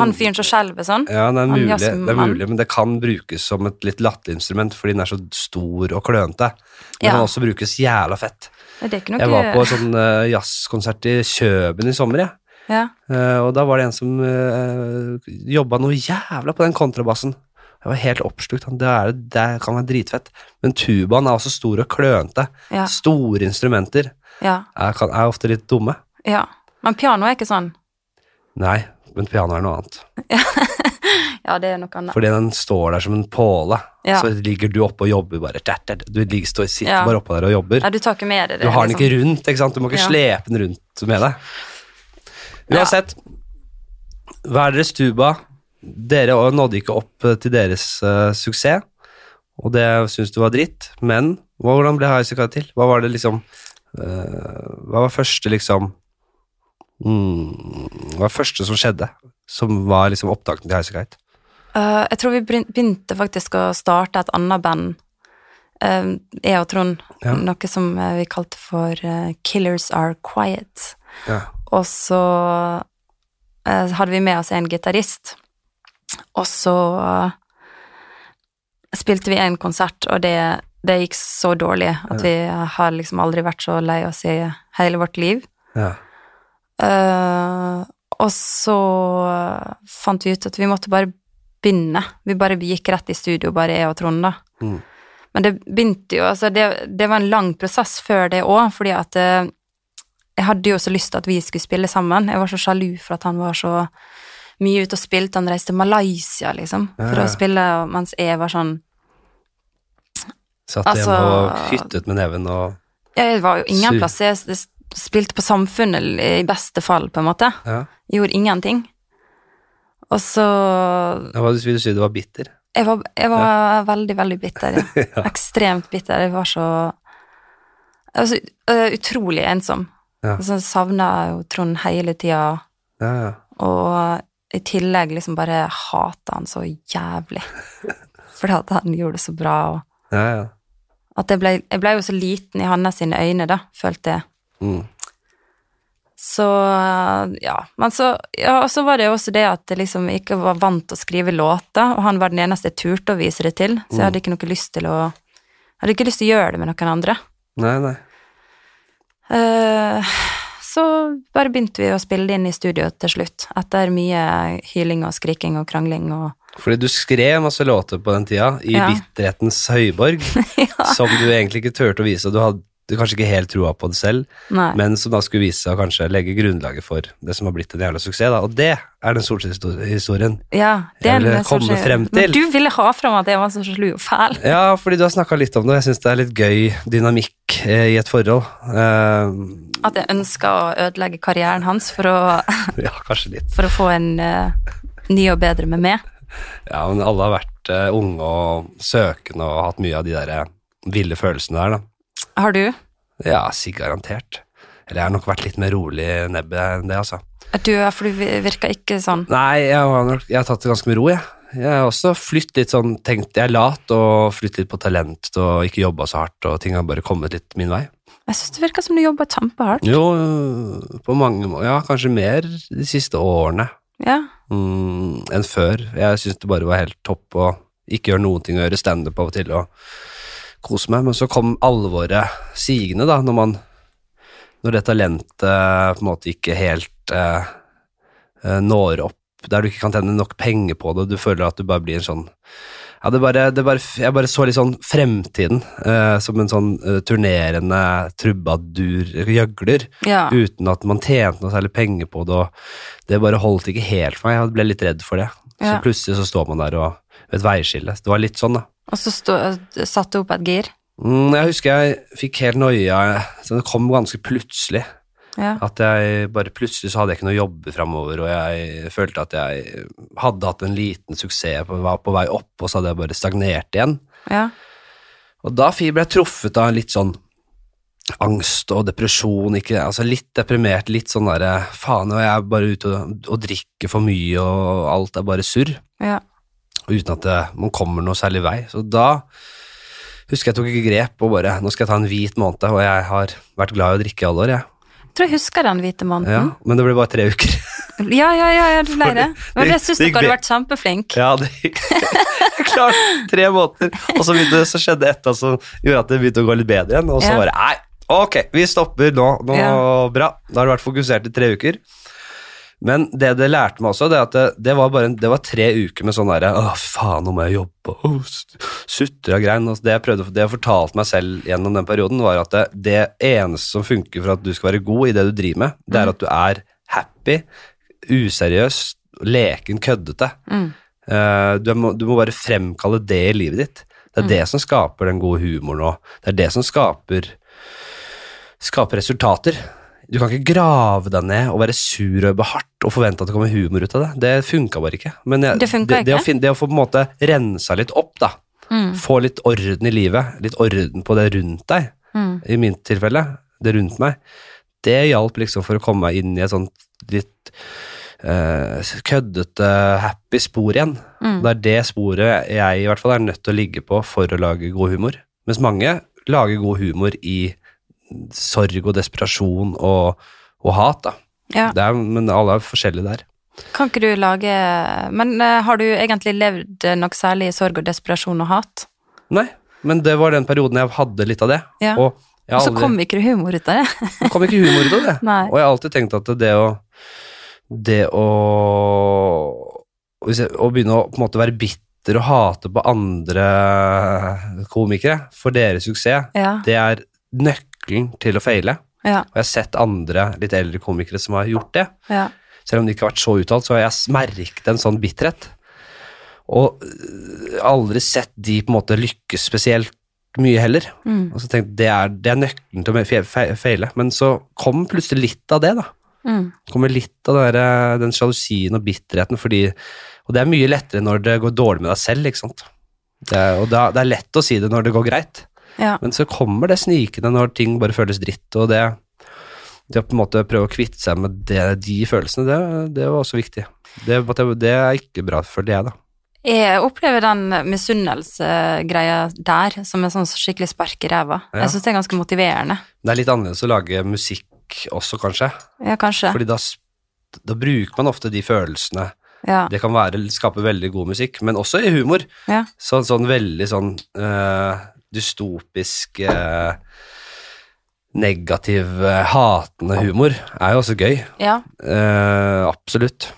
Han fyren som skjelver sånn? Mm. Ja, det er, Han mulig, jazzmann. det er mulig, men det kan brukes som et litt latterlig instrument fordi den er så stor og klønete. Men den Ja. kan også brukes jævla fett. Det er ikke noe Jeg var på en sånn eh, jazzkonsert i Kjøben i sommer, jeg. ja. Eh, og da var det en som uh, jobba noe jævla på den kontrabassen. Jeg var helt oppslukt. Han, Det, er, det kan være dritfett. Men tubaen er også stor og klønete. Ja. Store instrumenter Ja, er, kan, er ofte litt dumme. ja. Men piano er ikke sånn. Nei, men piano er noe annet. Ja, det er noe annet. Fordi den står der som en påle. Ja. Så ligger du oppe og jobber bare. tæt, tæt. Du ligger, står, sitter Ja. bare oppå der og jobber. Ja, du tar ikke med deg det. Du har den liksom. ikke rundt, ikke sant? Du må ikke Ja. slepe den rundt med deg. Ja. Uansett, hva er deres tuba? Dere og- nådde ikke opp eh, til deres eh, suksess, og det syns du var dritt, men hva- hvordan ble Highasakite til? Hva var det liksom eh, Hva var første liksom mm, Hva var første som skjedde, som var liksom opptakten til Highasakite? Eh, jeg tror vi begyn- begynte faktisk å starte et annet band. Eh, jeg og Trond. Ja. Noe som eh, vi kalte for eh, Killers Are Quiet. Ja. Og så eh, hadde vi med oss en gitarist. Og så eh, spilte vi en konsert, og det, det gikk så dårlig at vi har liksom aldri vært så lei oss i hele vårt liv. Ja. Eh, og så eh, fant vi ut at vi måtte bare begynne. Vi bare gikk rett i studio, bare jeg og Trond, da. Mm. Men det begynte jo altså det, det var en lang prosess før det òg, fordi at eh, jeg hadde jo så lyst til at vi skulle spille sammen. Jeg var så sjalu for at han var så mye ute og spilte. Han reiste til Malaysia, liksom, for Ja. å spille, og mens jeg var sånn Satt Altså- hjemme og hyttet med neven og ja, Jeg var jo ingen Syv. plass. Jeg s- spilte på Samfunnet i beste fall, på en måte. ja. Gjorde ingenting. Og så Ja, Hva vil du si du var bitter? Jeg var, jeg var veldig, veldig bitter. Ja. Ja. Ekstremt bitter. Jeg var så Jeg var så øh, utrolig ensom. Ja. Og Så savna jeg jo Trond hele tida, Ja, ja. og i tillegg liksom bare hata han så jævlig. Fordi at han gjorde det så bra, og ja, ja. at jeg ble, jeg ble jo så liten i hans sine øyne, da, følte jeg. Mm. Så ja. Men så, ja, og så var det jo også det at jeg liksom ikke var vant til å skrive låter, og han var den eneste jeg turte å vise det til, så jeg hadde ikke noe lyst til å jeg hadde ikke lyst til å gjøre det med noen andre. Nei, nei. Eh, så bare begynte vi å spille det inn i studio til slutt, etter mye hyling og skriking og krangling og Fordi du skrev masse låter på den tida, i Ja. bitterhetens høyborg, som du egentlig ikke turte å vise, og du hadde kanskje ikke helt troa på det selv, Nei. men som da skulle vise seg å kanskje legge grunnlaget for det som har blitt en jævla suksess, da. Og det er den solskinnshistorien. ja, det Jeg er ville det som komme skjer. frem til. Men du ville ha fram at jeg var så slu og fæl. Ja, fordi du har snakka litt om det, og jeg syns det er litt gøy dynamikk eh, i et forhold. Eh, At jeg ønska å ødelegge karrieren hans for å, ja, kanskje litt. for å få en eh, ny og bedre med meg. Ja, men alle har vært eh, unge og søkende og hatt mye av de der eh, ville følelsene der, da. Har du? Ja, si garantert. Eller jeg har nok vært litt mer rolig i nebbet enn det, altså. At Du, ja, for du virker ikke sånn. Nei, jeg har, nok, jeg har tatt det ganske med ro, jeg. Jeg har også flytt litt sånn, tenkt jeg er lat, og flytt litt på talent, og ikke jobba så hardt, og ting har bare kommet litt min vei. Jeg syns det virker som du jobber kjempehardt. Jo, øh, på mange må- ja, kanskje mer de siste årene Ja. mm, enn før. Jeg syns det bare var helt topp å ikke gjøre noen ting, å gjøre standup av og til, og kose meg. Men så kom alvoret sigende, da, når man Når det talentet på en måte ikke helt eh, eh, når opp, der du ikke kan tjene nok penger på det, og du føler at du bare blir en sånn ja, det bare, det bare, jeg bare så litt sånn fremtiden eh, som en sånn eh, turnerende trubadur-gjøgler, ja. uten at man tjente noe særlig penger på det, og det bare holdt ikke helt for meg. Jeg ble litt redd for det. Så Ja. plutselig så står man der og ved et veiskille. Det var litt sånn, da. Og så stå, satte du opp et gir. Mm, jeg husker jeg fikk helt noia, så det kom ganske plutselig. Ja. At jeg bare plutselig så hadde jeg ikke noe å jobbe framover, og jeg følte at jeg hadde hatt en liten suksess, på, var på vei opp, og så hadde jeg bare stagnert igjen. ja. Og da fi- ble jeg truffet av litt sånn angst og depresjon, ikke, altså litt deprimert, litt sånn derre faen, og jeg er bare ute og, og drikker for mye, og alt er bare surr, ja. uten at det, man kommer noe særlig vei. Så da husker jeg tok ikke grep og bare nå skal jeg ta en hvit måned, og jeg har vært glad i å drikke i alle år, jeg. Jeg tror jeg husker den hvite Ja, måneden. men det ble bare tre uker. Ja, ja, ja, ja du ble det. Men jeg syns det gikk dere hadde be- vært kjempeflinke. Ja, det gikk klart tre måneder. Og så, begynte, så skjedde et eller annet som gjorde at det begynte å gå litt bedre igjen. Og så Ja. bare nei, ok, vi stopper nå. nå Ja. Bra. Da har du vært fokusert i tre uker. Men det det lærte meg også, det er at det, det, var, bare en, det var tre uker med sånn derre Å, faen, nå må jeg jobbe. Å, s- sutre og grein. Og det jeg prøvde, det jeg fortalte meg selv gjennom den perioden, var at det, det eneste som funker for at du skal være god i det du driver med, det Mm. er at du er happy, useriøs, leken, køddete. Mm. Eh, du, må, du må bare fremkalle det i livet ditt. Det er Mm. det som skaper den gode humoren òg. Det er det som skaper, skaper resultater. Du kan ikke grave deg ned og være sur og jobbe hardt og forvente at det kommer humor ut av det. Det funka bare ikke. Men jeg, Det funka det, det, å ikke? finne, det å få på en måte rensa litt opp, da. Mm. Få litt orden i livet, litt orden på det rundt deg, Mm. i mitt tilfelle, det rundt meg. Det hjalp liksom for å komme meg inn i et sånt litt eh, køddete, happy spor igjen. Mm. Det er det sporet jeg i hvert fall er nødt til å ligge på for å lage god humor. Mens mange lager god humor i sorg og desperasjon og, og hat, da. Ja. Det er, men alle er forskjellige der. Kan ikke du lage Men eh, har du egentlig levd eh, noe særlig i sorg og desperasjon og hat? Nei, men det var den perioden jeg hadde litt av det. Ja. Og jeg Og har så aldri, kom ikke det humor ut av det. det kom ikke humor ut av det. Nei. Og jeg har alltid tenkt at det å Det å hvis jeg, Å begynne å på en måte være bitter og hate på andre komikere for deres suksess, Ja. det er nøkkelen til å feile. Ja. Og jeg har sett andre litt eldre komikere som har gjort det. Ja. Selv om det ikke har vært så uttalt, så har jeg merket en sånn bitterhet. Og øh, aldri sett de på en måte lykkes spesielt mye heller. Mm. Og så tenkte jeg, det er, det er nøkkelen til å fe- fe- feile. Men så kom plutselig litt av det, da. Mm. Kommer litt av det der, øh, den sjalusien og bitterheten, fordi Og det er mye lettere når det går dårlig med deg selv, ikke sant. Det er, og da, det er lett å si det når det går greit. Ja. Men så kommer det snikende når ting bare føles dritt, og det, det å på en måte prøve å kvitte seg med det, de følelsene, det, det var også viktig. Det, det er ikke bra, føler jeg, da. Jeg opplever den misunnelsegreia der som en sånn skikkelig spark i ræva. Ja. Jeg syns det er ganske motiverende. Det er litt annerledes å lage musikk også, kanskje. Ja, kanskje. Fordi da, s- da bruker man ofte de følelsene. Ja. Det kan være, skape veldig god musikk, men også i humor. Ja. Sånn, sånn veldig sånn eh, dystopisk eh, Negativ, eh, hatende humor er jo også gøy. ja. Eh, absolutt.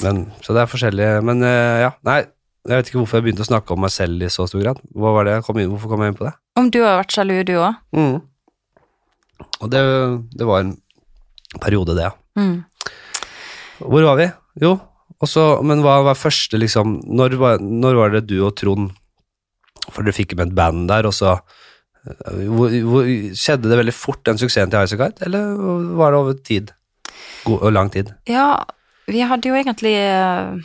Men, så det er forskjellige Men eh, ja, nei, jeg vet ikke hvorfor jeg begynte å snakke om meg selv i så stor grad. Hva var det jeg kom inn, hvorfor kom jeg inn på det? Om du har vært sjalu, du òg? Mm. Og det, det var en periode, det, ja. Mm. Hvor var vi? Jo, og så- men hva var første, liksom når var, når var det du og Trond For dere fikk med et band der, og så eh, hvor, hvor, Skjedde det veldig fort, den suksessen til Highasakite, eller var det over tid? God, og lang tid? Ja, vi hadde jo egentlig eh,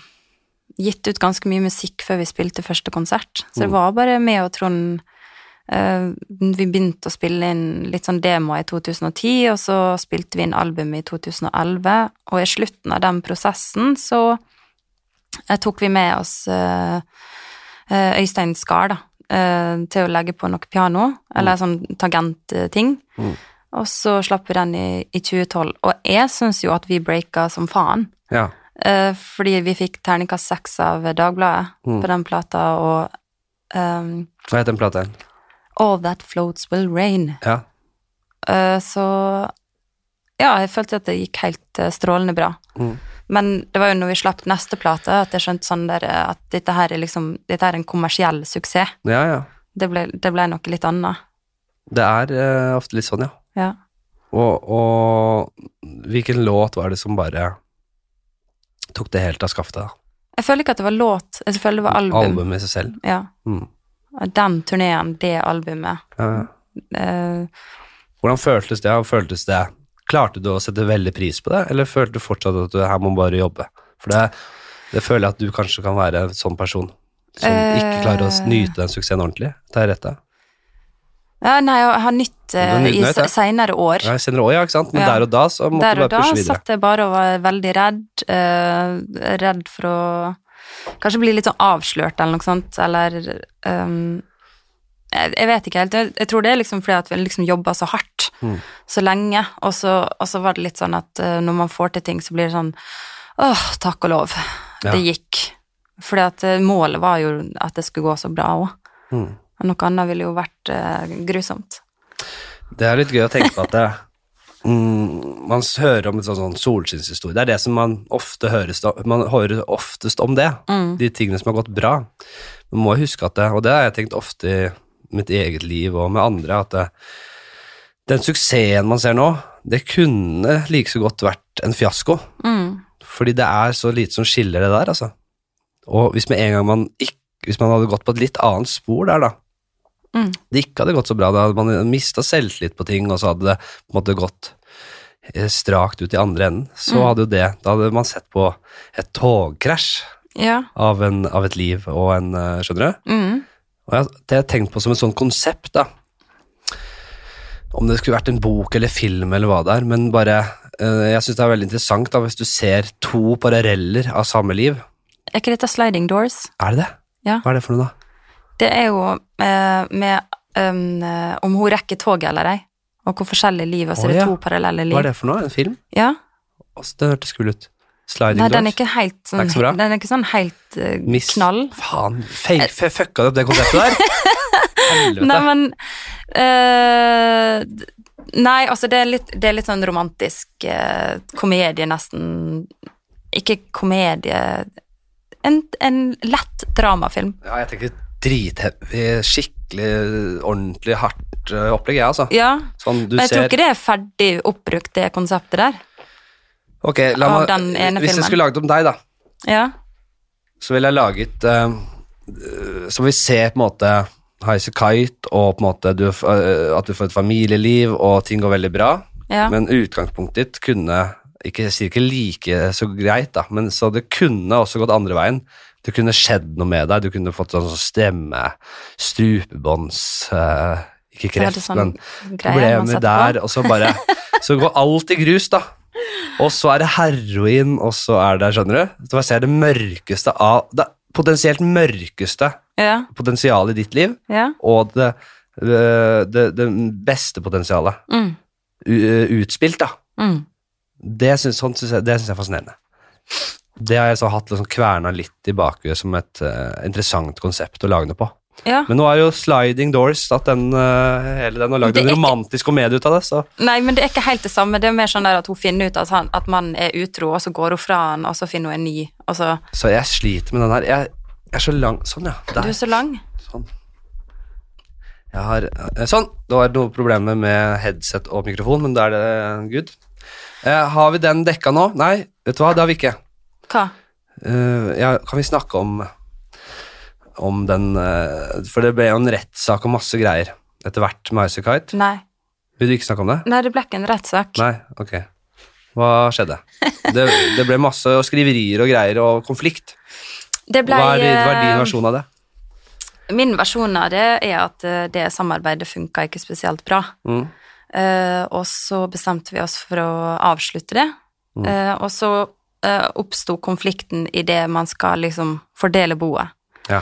gitt ut ganske mye musikk før vi spilte første konsert, så det Mm. var bare meg og Trond eh, Vi begynte å spille inn litt sånn demoer i 2010, og så spilte vi inn albumet i 2011, og i slutten av den prosessen så eh, tok vi med oss eh, eh, Øystein Skar, da, eh, til å legge på noe piano, eller sånn tangentting. Mm. Og så slapp vi den i, i 2012, og jeg syns jo at vi breaka som faen. Ja. Eh, fordi vi fikk terningkast seks av Dagbladet Mm. på den plata, og ehm, Hva het den plata? All That Floats Will Rain. Ja. Eh, så ja, jeg følte at det gikk helt eh, strålende bra. Mm. Men det var jo når vi slapp neste plate, at jeg skjønte sånn der, eh, at dette her er liksom Dette her er en kommersiell suksess. ja, ja. Det ble, det ble noe litt annet. Det er eh, ofte litt sånn, ja. Ja. Og, og hvilken låt var det som bare tok det helt av skaftet? da? Jeg føler ikke at det var låt, jeg føler det var album. Albumet i seg selv. Ja. Mm. Den turneen, det albumet. Ja, ja. Eh, Hvordan føltes det? og Føltes det? Klarte du å sette veldig pris på det, eller følte du fortsatt at du her må bare jobbe? For det, det føler jeg at du kanskje kan være en sånn person som ikke klarer å s- Eh. nyte den suksessen ordentlig. Det er rett, det. ja, nei, jeg har nytt eh, Du har nytt i nytt, ja. se- seinere år. Ja, jeg senere også, ja, ikke sant? Men Ja. der og da så måtte Der du og bare da pushe videre. satt jeg bare og var veldig redd. eh, redd for å kanskje bli litt sånn avslørt eller noe sånt, eller ehm, jeg, jeg vet ikke helt. Jeg, jeg tror det er liksom fordi at vi liksom jobba så hardt Mm. så lenge, og så, og så var det litt sånn at eh, når man får til ting, så blir det sånn åh, takk og lov, Ja. det gikk. Fordi at eh, målet var jo at det skulle gå så bra òg. Mm. Noe annet ville jo vært eh, grusomt. Det er litt gøy å tenke på at det, mm, man s- hører om en sånn, sånn solskinnshistorie. Det er det som man ofte høres, om- man hører oftest om det. Mm. De tingene som har gått bra. Man må huske at det, og det har jeg tenkt ofte i mitt eget liv og med andre, at det, den suksessen man ser nå, det kunne like så godt vært en fiasko. Mm. Fordi det er så lite som skiller det der, altså. Og hvis med en gang man ikke hvis man hadde gått på et litt annet spor der, da, Mm. det ikke hadde gått så bra. Da hadde man mista selvtillit på ting, og så hadde det på en måte gått eh, strakt ut i andre enden. Så Mm. hadde jo det Da hadde man sett på et togkrasj Ja. av, en, av et liv og en eh, Skjønner du? Mm. Og jeg, det har jeg tenkt på som et sånt konsept, da. Om det skulle vært en bok eller film eller hva det er, men bare eh, Jeg syns det er veldig interessant da, hvis du ser to paralleller av samme liv. Er ikke dette sliding doors? Er det det? Ja. Hva er det for noe, da? Det er jo eh, med um, eh, om hun rekker toget eller ei, og hvor forskjellig liv, og så Å, er det ja. to parallelle liv. Hva er det for noe? En film? Ja. Altså, den hørtes kul ut. Sliding Nei, Doors. den er ikke helt er sånn, ikke så bra. den er ikke sånn helt eh, Miss- knall. Faen, fake, fe- fucka du opp det konseptet der? Helvete. Nei, men eh, d- Nei, altså, det er litt, det er litt sånn romantisk eh, komedie, nesten. Ikke komedie En, en lett dramafilm. Ja, jeg tenker drithevig, skikkelig, ordentlig hardt eh, opplegg, jeg, altså. Ja. Sånn, du Men jeg tror ser ikke det er ferdig oppbrukt, det konseptet der. Ok, la av meg den ene Hvis filmen. jeg skulle laget om deg, da, Ja. så så ville jeg laget eh, Så vi ser på en måte Highas Kite, og på en måte du, eh, at du får et familieliv, og ting går veldig bra. Ja. Men utgangspunktet ditt kunne ikke, Jeg sier ikke like så greit, da, men så det kunne også gått andre veien. Det kunne skjedd noe med deg. Du kunne fått sånn stemme, strupebånds eh, Ikke Det var kreft, det sånn men greier problemer man satte der. på. Og så bare Så går alt i grus, da. Og så er det heroin, og så er det Skjønner du? Så jeg ser det mørkeste av Det potensielt mørkeste Ja, potensialet i ditt liv, ja. og det, øh, det, det beste potensialet Mm, u- øh, utspilt, da. mm. Det syns, sånn synes jeg, det synes jeg er fascinerende. Det har jeg så hatt liksom kverna litt i bakhuet som et eh, interessant konsept å lage det på. Ja. Men nå er jo Sliding Doors at den, eh, hele den har lagd Det er en ikke- romantisk komedie ut av det. Så. Nei, men det er ikke helt det samme. Det er mer sånn der at hun finner ut at, han, at mannen er utro, og så går hun fra han, og så finner hun en ny. Og så så jeg sliter med den her. Jeg, jeg er så lang Sånn, ja. Du Der. er så lang. Sånn. Jeg har, eh, sånn. Det var noen problemer med headset og mikrofon, men da er det good. Eh, har vi den dekka nå? Nei, vet du hva, det har vi ikke. Hva? Eh, ja, kan vi snakke om om den eh, For det ble jo en rettssak og masse greier etter hvert med Isekite. Nei. Vil du ikke snakke om det? Nei, det ble ikke en rettssak. Nei? Ok. Hva skjedde? Det, det ble masse skriverier og greier og konflikt. Det ble, Hva er, din- hva er eh, din versjon av det? Min versjon av det er at eh, det samarbeidet funka ikke spesielt bra. Mm. Eh, og så bestemte vi oss for å avslutte det. Mm. Eh, og så uh, oppsto konflikten idet man skal liksom fordele boet. Ja.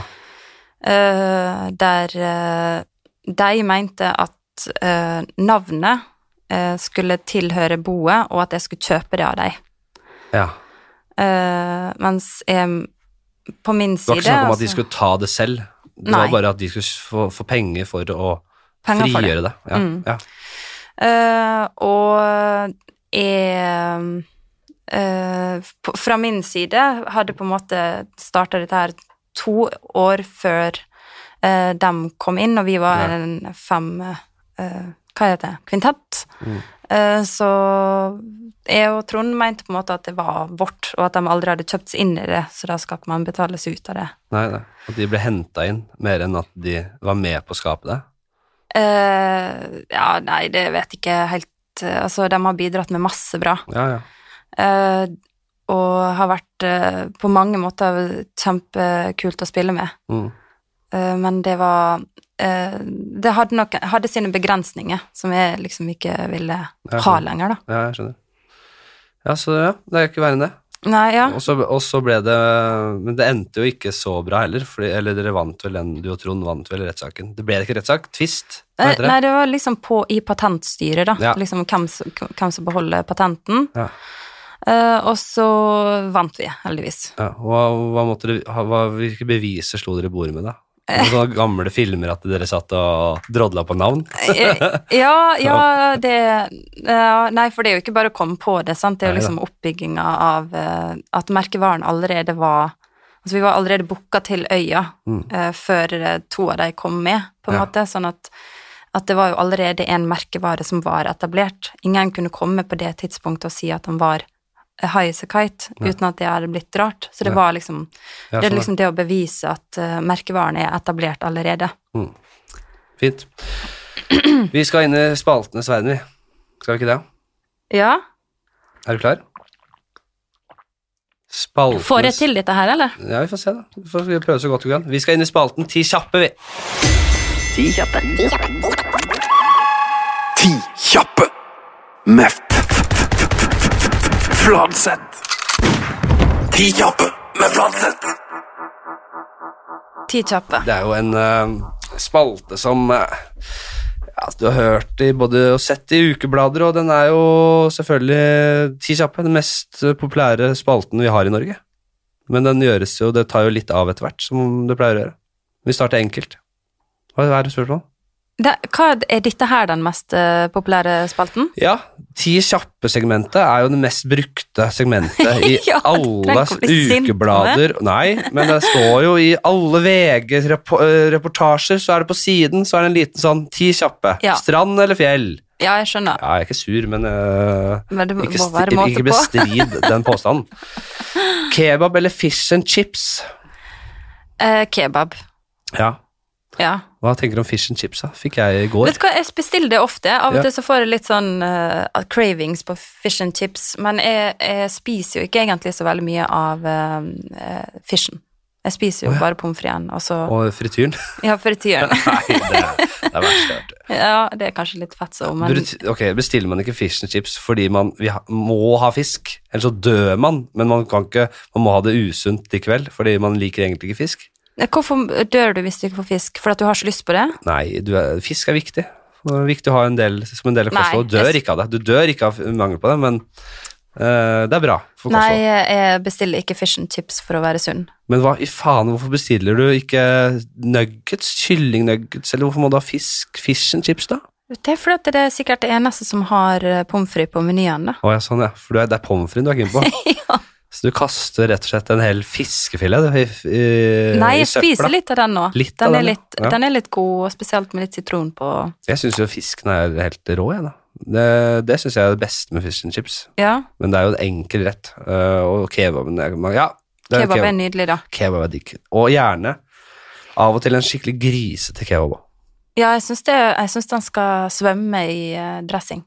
Eh, der eh, de mente at eh, navnet eh, skulle tilhøre boet, og at jeg skulle kjøpe det av dem. ja. Eh, mens jeg på min Det var side ikke snakk om at altså, de skulle ta det selv. Det Nei. var bare at de skulle få, få penger for å Penger for det. frigjøre det. Ja. Mm. Ja. Eh, og jeg eh, på- Fra min side hadde på en måte starta dette her to år før eh, de kom inn, og vi var Ja. en fem eh, Hva heter det? Kvintett. Mm. Eh, så jeg og Trond mente på en måte at det var vårt, og at de aldri hadde kjøpt seg inn i det, så da skal ikke man betales ut av det. Nei, nei. At de ble henta inn, mer enn at de var med på å skape det. Eh, ja, nei, det vet jeg ikke helt. eh, Altså, de har bidratt med masse bra. Ja, ja. Eh, og har vært eh, på mange måter kjempekult å spille med. Mm. Eh, men det var eh, Det hadde, nok, hadde sine begrensninger, som jeg liksom ikke ville ha skjønner. lenger, da. Ja, jeg skjønner. Ja, så ja, det er jo ikke verre enn det. Nei, ja. Og så- Og så ble det Men det endte jo ikke så bra heller, fordi, eller dere vant vel den, du og Trond vant vel rettssaken. Det ble ikke rettssak, tvist. Hva Eh, heter Nei, det? det var liksom på i patentstyret, da. Ja. Liksom hvem som, hvem som beholder patenten. Ja. Eh, og så vant vi, heldigvis. Ja, hva, hva måtte dere, ha- hva, hvilke beviser slo dere i bordet med, da? Noen Sånne gamle filmer at dere satt og drodla på navn? Eh, ja, ja, det ja, Nei, for det er jo ikke bare å komme på det, sant. Det er jo Nei da. liksom oppbygginga av eh, at merkevaren allerede var Altså, vi var allerede booka til øya Mm. eh, før eh, to av de kom med, på en Ja. måte. Sånn at, at det var jo allerede en merkevare som var etablert. Ingen kunne komme på det tidspunktet og si at han var eh, high as a kite, Nei. uten at det hadde blitt rart. Så det Nei. var liksom Ja, Det er sånn, liksom det å bevise at eh, merkevaren er etablert allerede. Mm. Fint. Vi skal inn i spaltenes verden, vi. Skal vi ikke det? Ja. Er du klar? Spaltenes Får jeg til dette her, eller? Ja, vi får se, da. Vi får prøve så godt vi kan. Vi skal inn i spalten Ti kjappe, vi. Ti kjappe. Ti kjappe med f- f- f- f- f- Fladseth. Ti kjappe med Fladseth. Ti kjappe. Det er jo en eh, spalte som eh, ja, du har hørt i både og sett i ukeblader, og den er jo selvfølgelig Ti kjappe, den mest populære spalten vi har i Norge. Men den gjøres jo, det tar jo litt av etter hvert, som det pleier å gjøre. Vi starter enkelt. Hva er det spørsmålet? Da, hva er dette her den mest eh, populære spalten? Ja, Ti kjappe-segmentet er jo det mest brukte segmentet i Ja, du alle trenger ikke å bli sint på ukeblader. Nei, men det står jo i alle VG-reportasjer, så er det på siden så er det en liten sånn Ti kjappe. Ja. Strand eller fjell? Ja, jeg skjønner. Ja, jeg er ikke sur, men øh, Men det må ikke, st- være måte ikke på. bestrid den påstanden. Kebab eller fish and chips? Eh, kebab. Ja, Ja. hva tenker du om fish and chips? da? Fikk jeg i går. Vet du hva, jeg bestiller det ofte. Av og Ja. til så får jeg litt sånn eh, cravings på fish and chips, men jeg, jeg spiser jo ikke egentlig så veldig mye av eh, eh, fishen. Jeg spiser jo bare pommes fritesen, og så Og frityren? Ja, frityren. Nei, det, det er verst. vet du. ja, det er kanskje litt fett så, men Brut- ok, bestiller man ikke fish and chips fordi man vi ha, må ha fisk, ellers så dør man, men man kan ikke, man må ha det usunt likevel, fordi man liker egentlig ikke fisk. Hvorfor dør du hvis du ikke får fisk? For at du har så lyst på det? Nei, du er, fisk er viktig. Det er viktig å ha en del, som en del av Nei, kostholdet. Du dør jeg- ikke av det. Du dør ikke av mangel på det, men eh, det er bra for Nei, kostholdet. jeg bestiller ikke fish and chips for å være sunn. Men hva i faen, hvorfor bestiller du ikke nuggets, kyllingnuggets, eller hvorfor må du ha fisk, fish and chips da? Det er fordi at det er sikkert det eneste som har eh, pommes frites på menyen, da. Å ja, sånn ja, for du er, det er pommes frites du er keen på. Så du kaster rett og slett en hel fiskefilet du, i, i, Nei, Eh, i jeg søpla. spiser litt av den nå. Litt den, av er den, litt, ja. den er litt god, og spesielt med litt sitron på. Jeg syns jo fisken er helt rå, jeg, da. Det, det syns jeg er det beste med fish and chips. Ja, Men det er jo en enkel rett. eh, og kebaben er man- Ja, det er kebab er kebab. nydelig, da. kebab er digg. Og gjerne av og til en skikkelig grisete kebab òg. Ja, jeg syns, det, jeg syns den skal svømme i eh, dressing.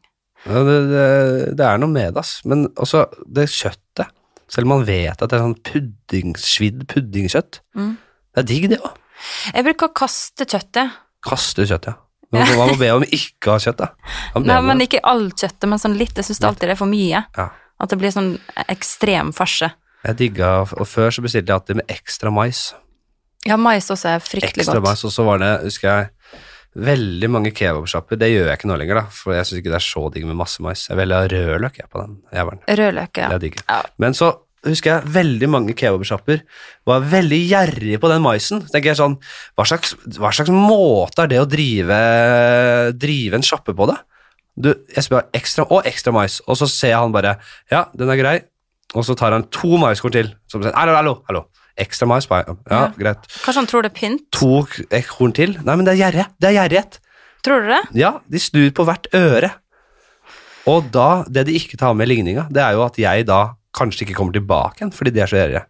Ja, Det, det, det er noe med det, ass. Men også det kjøttet. Selv om man vet at det er sånn pudding, svidd puddingkjøtt. Mm. Det er digg, det òg. Jeg bruker å kaste kjøttet. Kaste kjøttet, ja. Men Man må be om ikke å ha kjøtt, da. Man ber Nei, om men det. ikke alt kjøttet, men sånn litt. Jeg syns alltid det er for mye. Ja. At det blir sånn ekstrem farse. Jeg digga, og før så bestilte jeg alltid med ekstra mais. Ja, mais også er fryktelig ekstra godt. mais, og så var det, husker jeg, veldig mange kebabsjapper. Det gjør jeg ikke nå lenger, da, for jeg syns ikke det er så digg med masse mais. Jeg vil ha rødløk jeg, på den jævelen. Rødløk, ja. Det er digg. Ja. Men så husker jeg veldig mange kebabsjapper var veldig gjerrige på den maisen. Så tenker jeg sånn, hva slags, hva slags måte er det å drive, drive en sjappe på, da? Du, jeg spør ekstra, og ekstra mais, og så ser jeg han bare, ja, den er grei, og så tar han to maiskorn til, som sier, hallo, hallo, hallo, ekstra mais, bare, ja, Ja. greit Kanskje han tror det er pynt? to k- horn til. Nei, men det er gjerrighet. Det er gjerrighet. Tror du det? Ja, de snur på hvert øre. Og da, det de ikke tar med i ligninga, det er jo at jeg da kanskje ikke kommer tilbake igjen, fordi de er så gjerrige.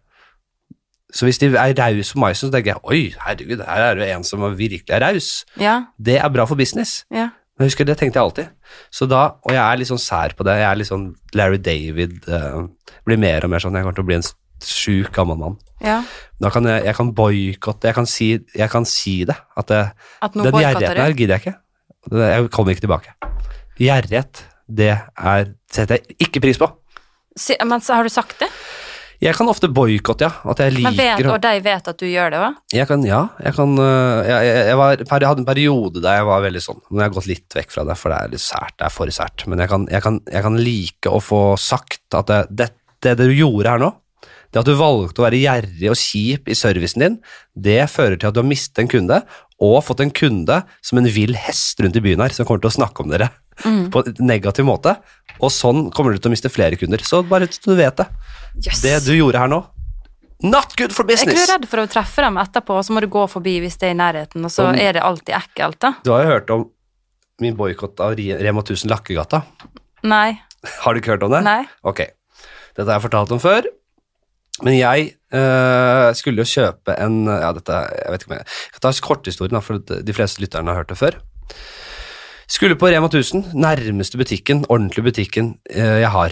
Så hvis de er rause på maisen, så tenker jeg oi, herregud, her er det jo en som er virkelig er raus. Ja. Det er bra for business. ja. Men jeg husker, det tenkte jeg alltid. Så da, og jeg er litt sånn sær på det. Jeg er litt sånn Larry David. eh, blir mer og mer sånn. Jeg kommer til å bli en s- sjuk gammel mann. ja. Da kan jeg, jeg kan boikotte, jeg, kan si, jeg kan si det. At det, At nå den boikotter gjerrigheten du. her gidder jeg ikke. Det- Jeg kommer ikke tilbake. Gjerrighet, det er, setter jeg ikke pris på. Si- Men så har du sagt det? Jeg kan ofte boikotte, ja. At jeg Men vet, liker å- og de vet at du gjør det òg? jeg kan, Ja, jeg kan øh, jeg, jeg, jeg, var, per- jeg hadde en periode der jeg var veldig sånn. Nå har jeg gått litt vekk fra det, for det er litt sært. Det er for sært. Men jeg kan, jeg kan, jeg kan like å få sagt at det, det, det du gjorde her nå, det at du valgte å være gjerrig og kjip i servicen din, det fører til at du har mistet en kunde, og fått en kunde som en vill hest rundt i byen her, som kommer til å snakke om dere på en negativ måte. Og sånn kommer du til å miste flere kunder. Så bare så du vet det. Yes. Det du gjorde her nå, not good for Jeg er ikke business! du redd for å treffe dem etterpå, og så må du gå forbi hvis det er i nærheten, og så Om- er det alltid ekkelt, da? Du har jo hørt om min boikott av Ri- Rema 1000 Lakkegata. Nei. Har du ikke hørt om det? Nei. Ok. Dette har jeg fortalt om før. Men jeg eh, skulle jo kjøpe en Ja, dette Jeg vet ikke om jeg Jeg tar korthistorien, da, for de fleste lytterne har hørt det før. Skulle på Rema 1000, nærmeste butikken, ordentlige butikken eh, jeg har.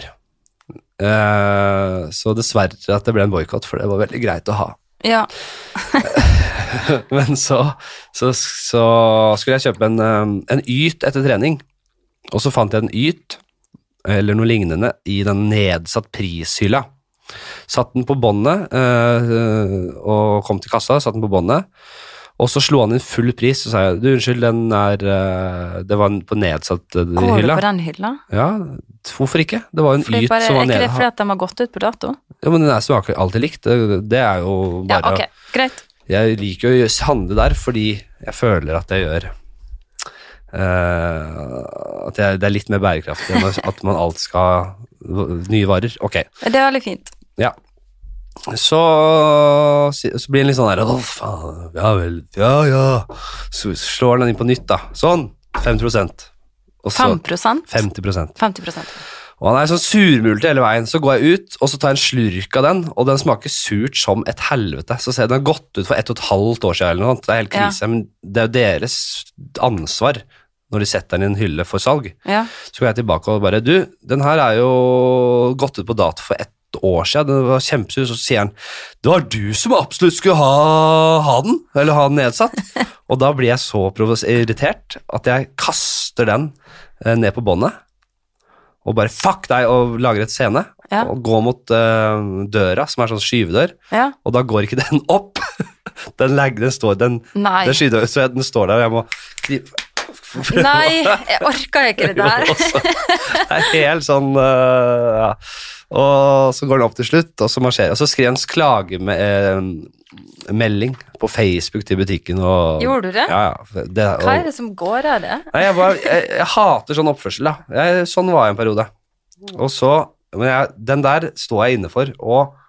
Eh, så dessverre at det ble en boikott, for det var veldig greit å ha. Ja. Men så, så, så skulle jeg kjøpe en, eh, en yt etter trening, og så fant jeg en yt, eller noe lignende, i den nedsatt prishylla. Satt den på båndet, eh, og kom til kassa, satt den på båndet, og så slo han inn full pris, så sa jeg, du unnskyld, den er, eh, det var en- på nedsatt eh, Går du hylla. på den hylla? Ja, t- hvorfor ikke? Det var jo en Fordi yt bare, som er var ikke nede. det fordi at de har gått ut på dato? Ja, men den er smaker alltid likt. Det, det er jo Ja, bare ok, greit. Jeg liker jo å gjø- handle der fordi jeg føler at jeg gjør eh, At jeg, det er litt mer bærekraftig enn at man alltid skal ha v- nye varer. Ok, Det er veldig fint. ja. Så, si- så blir den litt sånn der Å, faen. Ja vel. Ja, ja. Så slår den inn på nytt, da. Sånn. 5 Og så 5 50 50 50 og han er sånn surmulte hele veien. Så går jeg ut, og så tar jeg en slurk av den, og den smaker surt som et helvete. Så ser jeg den har gått ut for ett og et halvt år siden eller noe sånt. Det er helt krise, men det er jo deres ansvar når de setter den i en hylle for salg. Ja. Så går jeg tilbake og bare Du, den her er jo gått ut på dato for ett år siden. Den var kjempesur. Så sier han Det var du som absolutt skulle ha, ha den, eller ha den nedsatt. og da blir jeg så provos- irritert at jeg kaster den eh, ned på båndet. Og bare fuck deg, og lager et scene. Ja. Og går mot eh, døra, som er sånn skyvedør, ja. og da går ikke den opp. den lag, den står, den, Nei. den skyvedøra, så den står der, og jeg må kri- Nei, jeg orker ikke det der. jo, også. Det er helt sånn øh, ja. Og så går den opp til slutt, og så marsjerer Og så skrev han klagemelding på Facebook til butikken. Og, Gjorde du det? Ja, ja. Det, og, Hva er det som går av det? Nei, jeg, bare, jeg, jeg hater sånn oppførsel, da. Jeg, sånn var jeg en periode. Og så Men jeg, den der står jeg inne for, og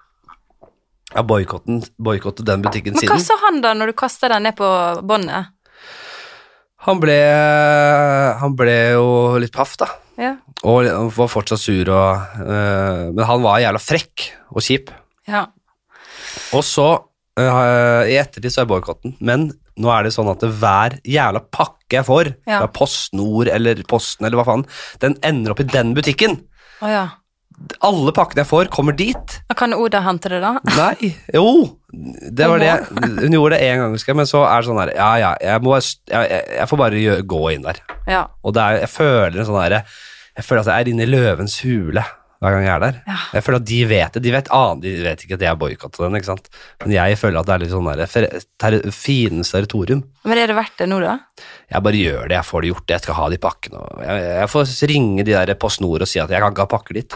jeg har boikottet boikottet den butikken Men hva siden. sa han da når du kasta den ned på båndet? Han ble, han ble jo litt paff, da. Ja. Og han var fortsatt sur, og, eh, men han var jævla frekk og kjip. ja. Og så, eh, i ettertid så er boikotten, men nå er det sånn at hver jævla pakke jeg får, Ja. fra PostNord eller Posten eller hva faen, den ender opp i den butikken. Å ja. Alle pakkene jeg får, kommer dit. Da kan Oda hente det, da? Nei, jo, det var det. Hun gjorde det én gang, husker jeg, men så er det sånn her, ja ja, jeg, må, bare s- jeg, jeg, jeg får bare gjø- gå inn der. Ja. Og det er, jeg føler en sånn derre Jeg føler at jeg er inne i løvens hule hver gang jeg er der. Ja. Jeg føler at de vet det. De vet, annen, de vet ikke at jeg har boikotta den, ikke sant. Men jeg føler at det er litt sånn derre fer- ter- fiendens territorium. Men er det verdt det nå, da? Jeg bare gjør det, jeg får det gjort, jeg skal ha de pakkene. og Jeg, jeg får ringe de der Post Nord og si at jeg kan ikke ha pakker dit.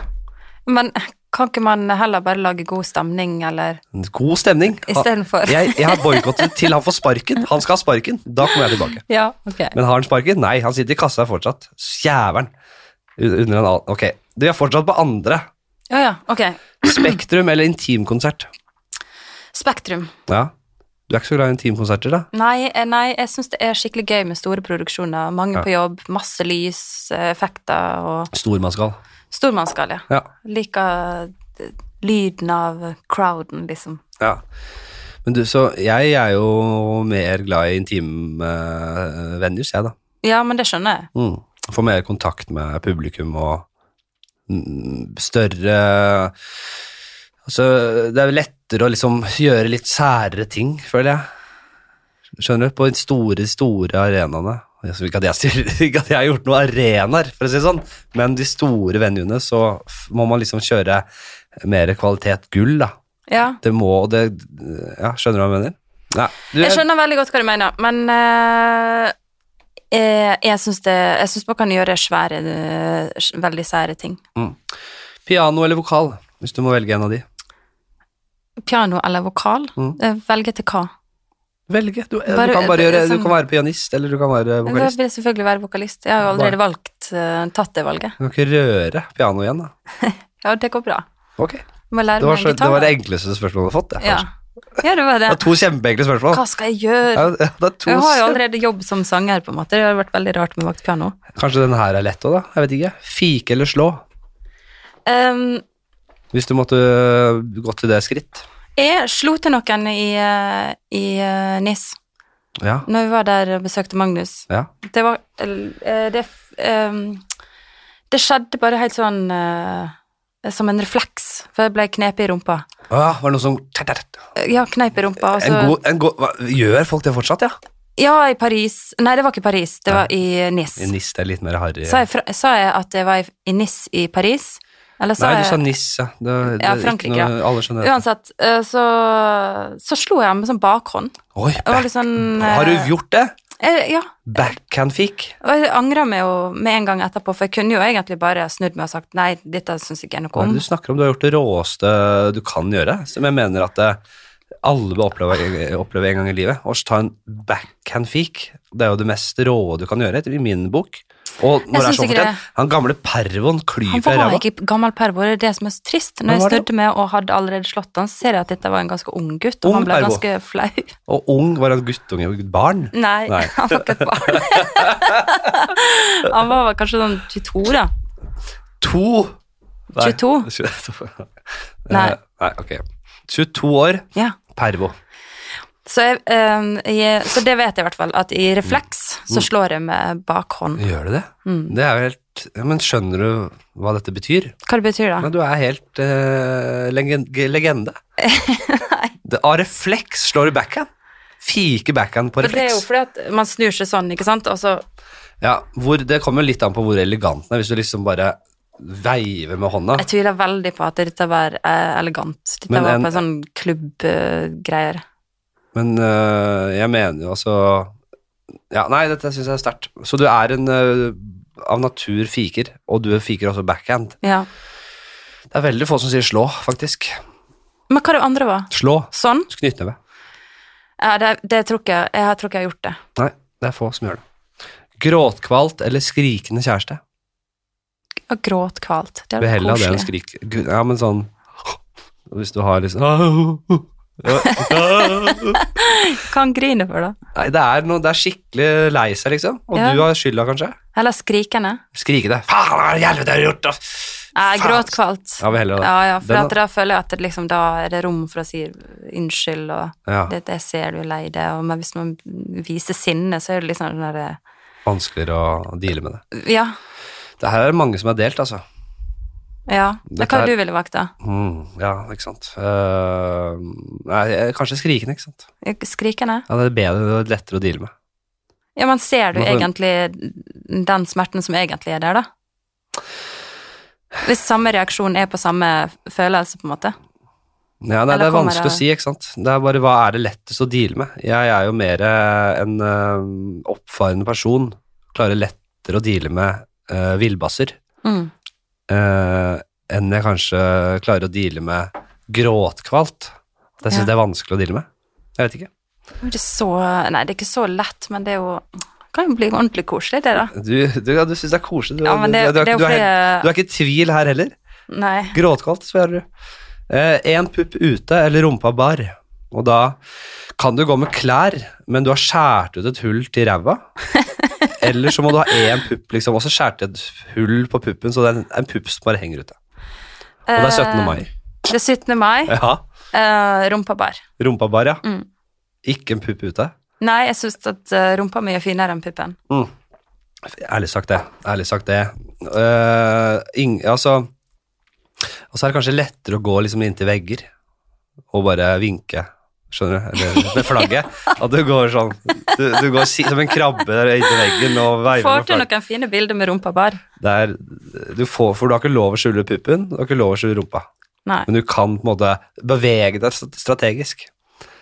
Men kan ikke man heller bare lage god stemning, eller God stemning. Istedenfor. Jeg, jeg har boikottet til han får sparken. Han skal ha sparken. Da kommer jeg tilbake. Ja, ok. Men har han sparken? Nei, han sitter i kassa fortsatt. Jævelen. Under en annen Ok, vi er fortsatt på andre. Ja, ja, ok. Spektrum eller intimkonsert? Spektrum. Ja. Du er ikke så glad i intimkonserter, da? Nei, eh, nei jeg syns det er skikkelig gøy med store produksjoner. Mange Ja. på jobb, masse lys, eh, effekter og Stormannskall. stormannsskall, ja. Ja. Liker eh, lyden av crowden, liksom. ja. Men du, så jeg er jo mer glad i intimvenues, jeg, da. Ja, men det skjønner jeg. Mm. Får mer kontakt med publikum og mm, større Altså, det er jo lettere å liksom gjøre litt særere ting, føler jeg. Skjønner du? På de store, store arenaene. Altså, Ikke at jeg, styrer- ikke at jeg har gjort noen arenaer, for å si det sånn, men de store venuene, så f- må man liksom kjøre mer kvalitet gull, da. Ja. Det må det Ja, skjønner du hva jeg mener? Nei. Du, Jeg skjønner veldig godt hva du mener, men eh, eh, jeg syns det Jeg syns man kan gjøre svære, eh, s- veldig sære ting. Piano eller vokal, hvis du må velge en av de. Piano eller vokal? Mm. Eh, Velge til hva? Velge. Du, Bare- du kan bare gjøre Du sånn- kan være pianist, eller du kan være Da vokalist. vil jeg selvfølgelig være vokalist. Jeg har jo allerede valgt, eh, tatt det valget. Du kan ikke røre piano igjen, da. Ja, det går bra. Ok. Må lære Det var, meg så, det, gitar. var det enkleste spørsmålet du har fått. Det, ja. kanskje. ja, det var det. det er to kjempeenkle spørsmål. Hva skal jeg gjøre? Ja, det er to Jeg har jo kjem- allerede jobb som sanger, på en måte. Det hadde vært veldig rart med vaktpiano. Kanskje den her er lett òg, da. Jeg vet ikke. Fike eller slå? Um, Hvis du måtte øh, gått til det skritt. jeg slo til noen i, eh, i eh, NIS Ja. når vi var der og besøkte Magnus. ja. Det var ehm, eh, Det, f- um, det skjedde bare helt sånn eh, som en refleks, for jeg ble knepet i rumpa. Åh, var det noe som Ja, kneip i rumpa. Og så, en god, en god, hva, Gjør folk det fortsatt, ja? Ja, i Paris. Nei, det var ikke Paris, det var i Nis. I NIS det er litt mer harry. Sa, jeg fra, sa jeg at jeg var i, i Nis i Paris? Eller sa Nei, du jeg sa NIS, ja. Det, det, Ja, ikke Frankrike, noe- Alle skjønner det. Uansett, eh, så, så slo jeg ham med sånn bakhånd. Oi, Det var back. litt sånn eh, Har du gjort det? eh, Ja. Backhandfik? Og jeg angra meg jo med en gang etterpå, for jeg kunne jo egentlig bare snudd meg og sagt nei, dette syns ikke jeg noe Hva er om. det du snakker om? Du har gjort det råeste du kan gjøre, som jeg mener at eh, alle bør oppleve, oppleve en gang i livet. Å ta en backhandfik, det er jo det mest rå du kan gjøre, etter- i min bok. Og når det syns er sånn ikke fortjent, det. han gamle pervoen klyper Han i var ræva. ikke gammel pervo, det er det som er så trist. Men Når jeg var det- snudde meg og hadde allerede slått han, så ser jeg at dette var en ganske ung gutt, og Ung han ble pervo. ganske flau. Og ung var han guttunge og barn. Nei, Nei. han var ikke et barn. han var vel kanskje sånn 22, da. To! Nei. 22. 22. Nei. Eh, Nei, ok. 22 år, Ja. pervo. Så, jeg, eh, jeg, så det vet jeg i hvert fall, at i refleks Mm. så slår jeg med bakhånd. Gjør du det? Mm. Det er jo helt ja, Men skjønner du hva dette betyr? Hva det betyr det? Men du er helt eh, legen- legende. Det, av refleks slår du backhand. Fike backhand på For det er jo refleks. fordi at man snur seg sånn, ikke sant, og så Ja, hvor, det kommer jo litt an på hvor elegant den er. Hvis du liksom bare veiver med hånda. Jeg tviler veldig på at dette var eh, elegant. Dette Men var en- på en sånn klubbgreier. Men øh, jeg mener jo altså ja, Nei, dette syns jeg er sterkt. Så du er en øh, av natur fiker, og du fiker også backhand. ja. Det er veldig få som sier slå, faktisk. Men hva det andre var? Slå. Sånn? Knyttneve. Ja, det, det tror ikke jeg, jeg tror ikke jeg har gjort det. Nei, det er få som gjør det. Gråtkvalt eller skrikende kjæreste. Og gråt kvalt. Det Du er er heller det enn koselig. skrik... Gud, Ja, men sånn Hvis du har liksom Nei, Hva han griner for, da? det er, noe, det er skikkelig lei seg, liksom. Og Ja. du har skylda, kanskje. Eller skrikende? Skrike det. Faen, hva i helvete har du gjort? da? Nei, Faen. gråt kvalt. Ja, vi heller det. Ja, ja, for Den- at da føler jeg at det liksom, da er det rom for å si unnskyld, og Ja. det, jeg ser du er lei deg, og men hvis man viser sinne, så er det liksom den derre vanskeligere å deale med det. Ja. Det her er det mange som er delt, altså. Ja. Men Dette hva er- du ville valgt, da? Mm, ja, ikke sant. Eh, nei, jeg- kanskje skrikende, ikke sant. Skrikende? Ja, det er bedre, det er lettere å deale med. Ja, men ser du Hvorfor- egentlig den smerten som egentlig er der, da? Hvis samme reaksjon er på samme følelse, på en måte. Ja, nei, det Eller er kommer vanskelig å det- si, ikke sant. Det er bare hva er det lettest å deale med. Jeg er jo mer eh, en eh, oppfarende person. Klarer lettere å deale med uh, villbasser Mm. eh, enn jeg kanskje klarer å deale med gråtkvalt. Jeg syns Ja. det er vanskelig å deale med. Jeg vet ikke. Det er ikke så, nei, det er ikke så lett, men det er jo det kan jo bli ordentlig koselig, det, da. Du, du, ja, du syns det er koselig. Du, Ja, men det, du, du, det er du, jo er, fordi helt- Du er ikke i tvil her heller. Nei. Gråtkalt, svarer du. Én pupp ute eller rumpa bar. Og da kan du gå med klær, men du har skåret ut et hull til ræva. Eller så må du ha én pupp, liksom, og så skåret et hull på puppen, så det er en, en pupp som bare henger ute. Og det er 17. mai. Eh, Det er 17. mai. Ja. eh, rumpa bar. Rumpa bar, ja. Mm. Ikke en pupp ute. Nei, jeg syns at eh, rumpa mi er finere enn puppen. Ærlig sagt det. Ærlig sagt det. Eh, ing, altså Og så er det kanskje lettere å gå liksom inntil vegger og bare vinke. Skjønner du? Eller med flagget. At du går sånn Du, du går si, som en krabbe der inntil veggen og veiver Får med til flagget. noen fine bilder med rumpa bar. Det er, du får, for du har ikke lov å skjule puppen, du har ikke lov å skjule rumpa. Nei. Men du kan på en måte bevege deg st- strategisk.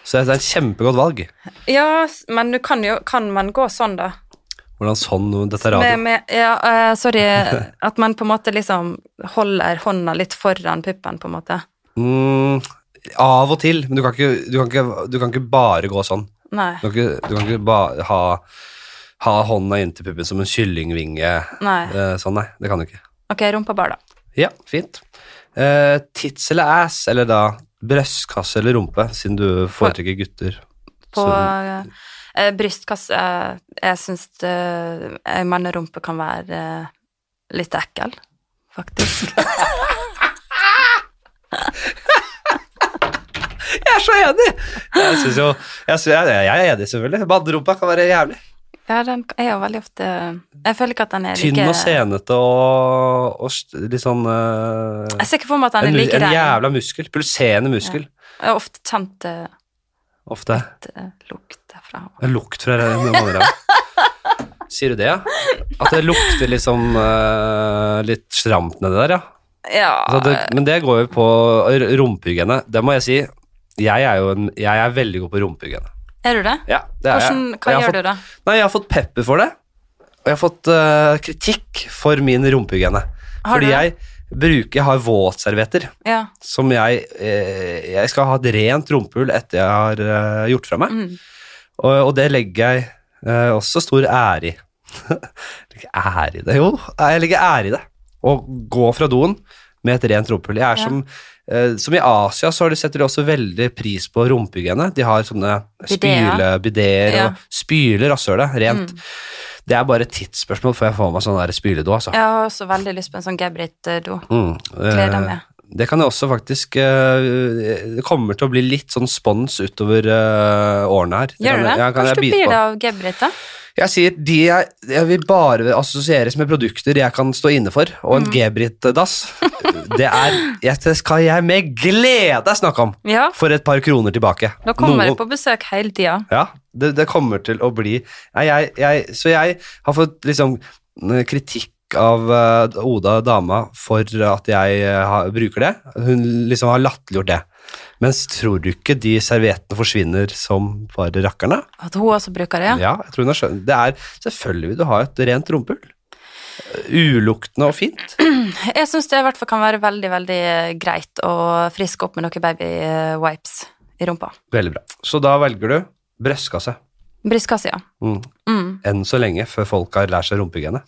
Så det er et kjempegodt valg. Ja, s- men du kan jo Kan man gå sånn, da? Hvordan sånn Dette er Med, radio. med, ja, eh, sorry. At man på en måte liksom holder hånda litt foran puppen, på en måte. Mm, av og til, men du kan, ikke, du, kan ikke, du kan ikke bare gå sånn. Nei. Du kan ikke, du kan ikke bare ha, ha hånda inntil puppen som en kyllingvinge. Nei. Eh, sånn, nei. Det kan du ikke. Ok, rumpa bar, da. Ja, fint. Eh, tits eller ass, eller da brystkasse eller rumpe, siden du foretrekker gutter. På Så- eh, brystkasse eh, Jeg syns det- en mannerumpe kan være eh, litt ekkel, faktisk. jeg er så enig! Jeg, synes jo, jeg, synes, jeg, jeg er enig, selvfølgelig. Mannerumpa kan være jævlig. Ja, den er jo veldig ofte eh, Jeg føler ikke at den er Tynn like og senete og, og s- litt sånn eh, Jeg ser ikke for meg at en, den mu- er like en rein. jævla muskel. Pulserende muskel, Jeg har ofte kjent eh, ofte. et eh, lukt derfra. En lukt fra mannera. Sier du det, ja? At det lukter liksom eh, litt stramt nedi der, ja. Ja, Altså det, men det går jo på r- rumpehygiene. Det må jeg si. Jeg er jo en, jeg er veldig god på rumpehygiene. er du det? Ja, det er Hvordan, jeg. Og hva jeg har gjør fått, du da? Nei, jeg har fått pepper for det. Og jeg har fått eh, kritikk for min rumpehygiene. Har Fordi du det? jeg bruker, jeg har våtservietter Ja. som jeg eh, Jeg skal ha et rent rumpehull etter jeg har eh, gjort fra meg. Mm. Og, og det legger jeg eh, også stor ære i. Legger ære i det? Jo, eh, jeg legger ære i det. Å gå fra doen med et rent rumpehull. Jeg er Ja. som, eh, som i Asia så har de setter de også veldig pris på rumpehygiene. De har sånne Bidéer. spylebideer Ja. Mm. og spyler rasshølet rent. Det er bare et tidsspørsmål før jeg får meg sånn der spyledo, altså. Jeg har også veldig lyst på en sånn Gebrit-do. Mm, Gleder eh, meg. Det kan jeg også faktisk eh, Det kommer til å bli litt sånn spons utover eh, årene her. Gjør kan, du det? jeg- Ja, kan Kanskje jeg du bite blir på. det av Gebrit, da? Jeg sier de jeg, jeg vil bare assosieres med produkter jeg kan stå inne for, og Mm. en Gebrit-dass. Det er jeg, Det skal jeg med glede snakke om Ja. for et par kroner tilbake. Da kommer Noen- jeg på besøk hele tida. Ja, det, det kommer til å bli Nei, jeg, jeg, Så jeg har fått liksom eh, kritikk av eh, Oda, dama, for at jeg eh, har, bruker det. Hun liksom har latterliggjort det. Mens tror du ikke de serviettene forsvinner som bare rakkerne? At hun også bruker det, ja. Ja, jeg tror hun har skjønt. Det er selvfølgelig vil du ha et rent rumpehull. Eh, Uluktende og fint. Jeg syns det i hvert fall kan være veldig veldig greit å friske opp med noen baby-wipes i rumpa. Veldig bra. Så da velger du brystkasse. Brystkasse, ja. Mm. Mm. Enn så lenge, før folk har lært seg rumpehygiene.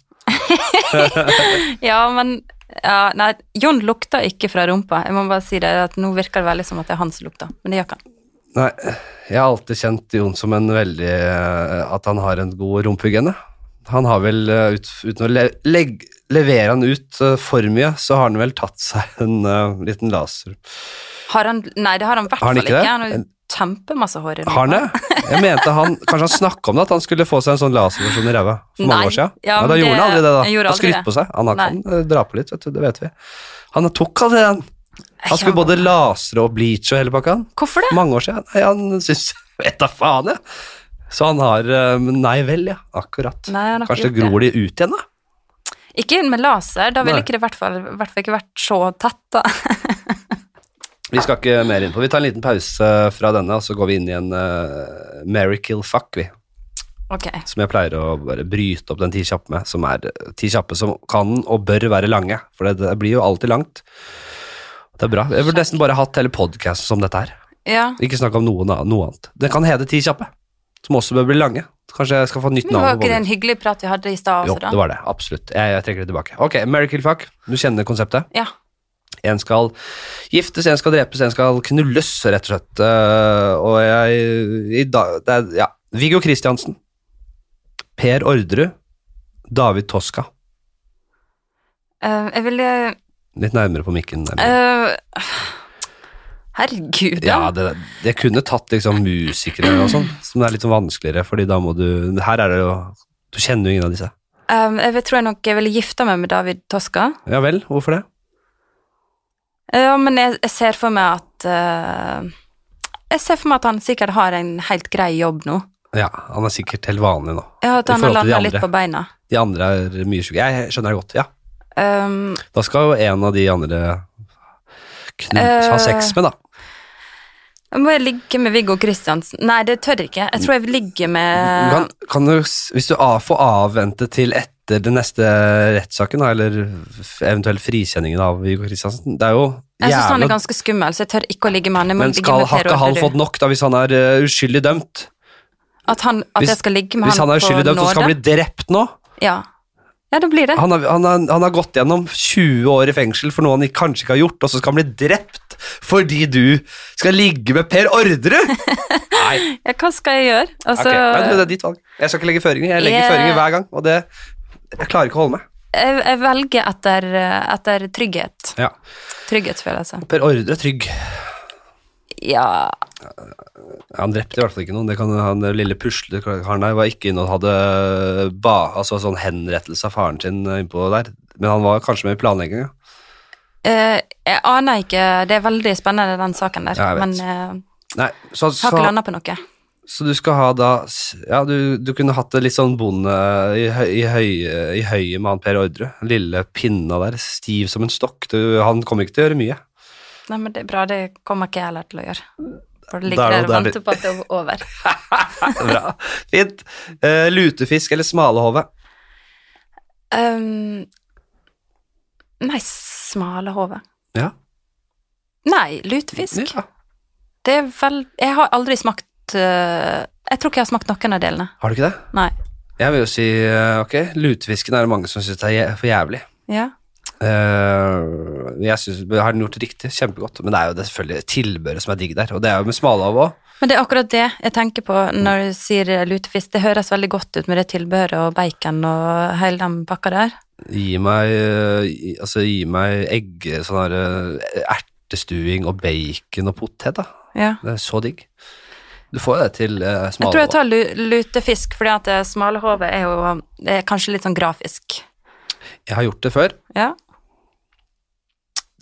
Ja, men ja, Nei, Jon lukter ikke fra rumpa. Jeg må bare si det, at nå virker det veldig som at det er han som lukter, men det gjør ikke han. Nei, jeg har alltid kjent Jon som en veldig eh, At han har en god rumpehygiene. Han har vel, eh, ut, uten å le, legg, levere han ut eh, for mye, så har han vel tatt seg en eh, liten laser. Har han nei, det har han i hvert Har han fall ikke ikke. det? Han har jo kjempemasse hår i rumpa. Har han det? Jeg mente han, Kanskje han snakka om det, at han skulle få seg en sånn laserversjon i ræva for mange Nei. år siden? Ja, Nei, da men gjorde han det- aldri det, da. han gjorde Han aldri skrytte det. på seg. Han har- Nei. kan eh, dra på litt, vet du. Det vet vi. Han tok aldri den. Han skulle både lasre og bleache og hele pakka. han. Hvorfor det? Mange år siden. Nei, han syns Vet da faen, jeg. Så han har eh, Nei vel, ja. Akkurat. Nei, han har ikke Kanskje gjort det. gror de ut igjen, da? Ikke med laser. Da Nei. ville ikke det i hvert fall, i hvert fall ikke vært så tett, da. Vi skal ikke mer inn på Vi tar en liten pause fra denne, og så går vi inn i en eh, Mary Kill Fuck, vi. Ok. Som jeg pleier å bare bryte opp den ti kjappe med, som er eh, ti kjappe som kan og bør være lange. For det, det blir jo alltid langt. Det er bra. Jeg burde nesten bare hatt hele podkasten som dette her. Ja. Ikke snakk om noe, noe annet. Den kan hete Ti kjappe, som også bør bli lange. Kanskje jeg skal få nytt Men var navn. på ikke det podden. en hyggelig prat vi hadde i stad Jo, også, da? det var det. Absolutt. Jeg, jeg trekker det tilbake. Ok, Mary Kill Fuck. Du kjenner konseptet. Ja. En skal giftes, en skal drepes, en skal knulles, rett og slett. Eh, og jeg i dag, det er, ja. Viggo Kristiansen. Per Orderud. David Toska. Eh, jeg ville Litt nærmere på mikken. Emil. eh, Herregud, da. ja, det, det kunne tatt liksom musikere og sånn, som er litt sånn vanskeligere, fordi da må du Her er det jo Du kjenner jo ingen av disse. Eh, jeg vil- tror jeg nok jeg ville gifta meg med David Toska. Ja vel, hvorfor det? Eh, Ja, men jeg, jeg ser for meg at eh, Jeg ser for meg at han sikkert har en helt grei jobb nå. Ja, han er sikkert helt vanlig nå. Ja, at I han har forhold til de landa litt andre. på beina. De andre er mye sjuke. Jeg skjønner det godt, ja. Um, Da skal jo en av de andre knull, Eh. ha sex med, da. må jeg ligge med Viggo Kristiansen? Nei, det tør jeg ikke. Jeg tror jeg ligger Du med kan, kan du, s- hvis du av, får avvente til etter den neste rettssaken, da, eller f- eventuelt frikjenningen av Viggo Kristiansen Det er jo Jeg syns han er jævla ganske skummel, så jeg tør ikke å ligge med han. Jeg må Men ligge skal med har Per ikke han Orderud. fått nok, da, hvis han er eh, uskyldig dømt? At, han, at Hvis- jeg skal ligge med Hvis han han, er uskyldig på dømt, så skal han nåde? bli drept nå? Ja. ja, det blir det. Han har, han, har, han har gått gjennom 20 år i fengsel for noe han ikke- kanskje ikke har gjort, og så skal han bli drept fordi du skal ligge med Per Orderud! Nei. Ja, hva skal jeg gjøre? Ok, Altså, Nei, du, det er ditt valg. Jeg skal ikke legge føringer. Jeg legger Jeg- føringer hver gang, og det Jeg klarer ikke å holde meg. jeg, jeg velger etter, etter trygghet. Ja. Trygghetsfølelse. Per Ordre er trygg. Ja Han drepte i hvert fall ikke noen. Det kan, han lille puslekaren der var ikke inne og hadde ba, altså sånn henrettelse av faren sin innpå der. Men han var kanskje med i planlegginga. Eh, jeg aner ikke, det er veldig spennende den saken der, Ja, jeg men vet. eh, Nei, så, har så, ikke landa på noe. så du skal ha da Ja, du, du kunne hatt det litt sånn bonde i, høy, i, høy, i høyet med han Per Ordre. Den Lille pinna der, stiv som en stokk. Du, han kommer ikke til å gjøre mye. Nei, men det er bra, det kommer ikke jeg heller til å gjøre. For Der det ligger og der og der venter på at det er over. Bra. Fint. Eh, lutefisk eller smalahove? Um, nei, smalahove. Ja. Nei, lutefisk. Ja. Det er vel Jeg har aldri smakt eh, Jeg tror ikke jeg har smakt noen av delene. Har du ikke det? Nei. Jeg vil jo si eh, ok, lutefisken er det mange som syns er jæ- for jævlig. Ja. Eh, jeg synes, Har den gjort det riktig? Kjempegodt. Men det er jo det selvfølgelig tilbøret som er digg der. Og det er jo med smalahove òg. Men det er akkurat det jeg tenker på når du sier lutefisk. Det høres veldig godt ut med det tilbehøret og bacon og hele den pakka der. Gi meg, eh, gi- altså, gi meg egg, sånn her eh, ertestuing og bacon og potet, da. Ja. Det er så digg. Du får jo det til uh, Jeg tror jeg smalahove. tar lu- lutefisk, fordi at eh, smalahove er jo det er kanskje litt sånn grafisk. Jeg har gjort det før. Ja.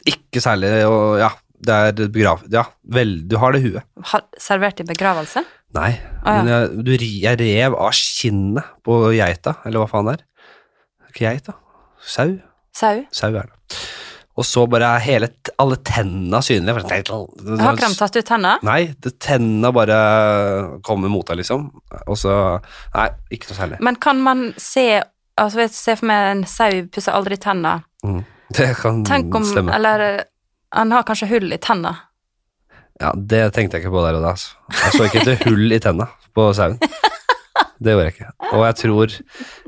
Ikke særlig og ja, det er begrav... Ja, vel, du har det i huet. Har, servert i begravelse? Nei, Ah, ja. men jeg, du, ri- jeg rev av skinnet på geita, eller hva faen det er. Ikke geit, da. Sau. Sau? Sau er det. Og så bare er hele, t- alle tennene synlige. Jeg Har ikke de tatt ut tenna? Nei, det tennene bare kommer mot deg, liksom. Og så Nei, ikke noe særlig. Men kan man se Altså, jeg ser for meg en sau pusser aldri tenna. Mm. Det kan Tenk om stemme. Eller eh, han har kanskje hull i tenna. Ja, det tenkte jeg ikke på der og da. Altså. Jeg så ikke et hull i tenna på sauen. Det gjorde jeg ikke. Og jeg tror,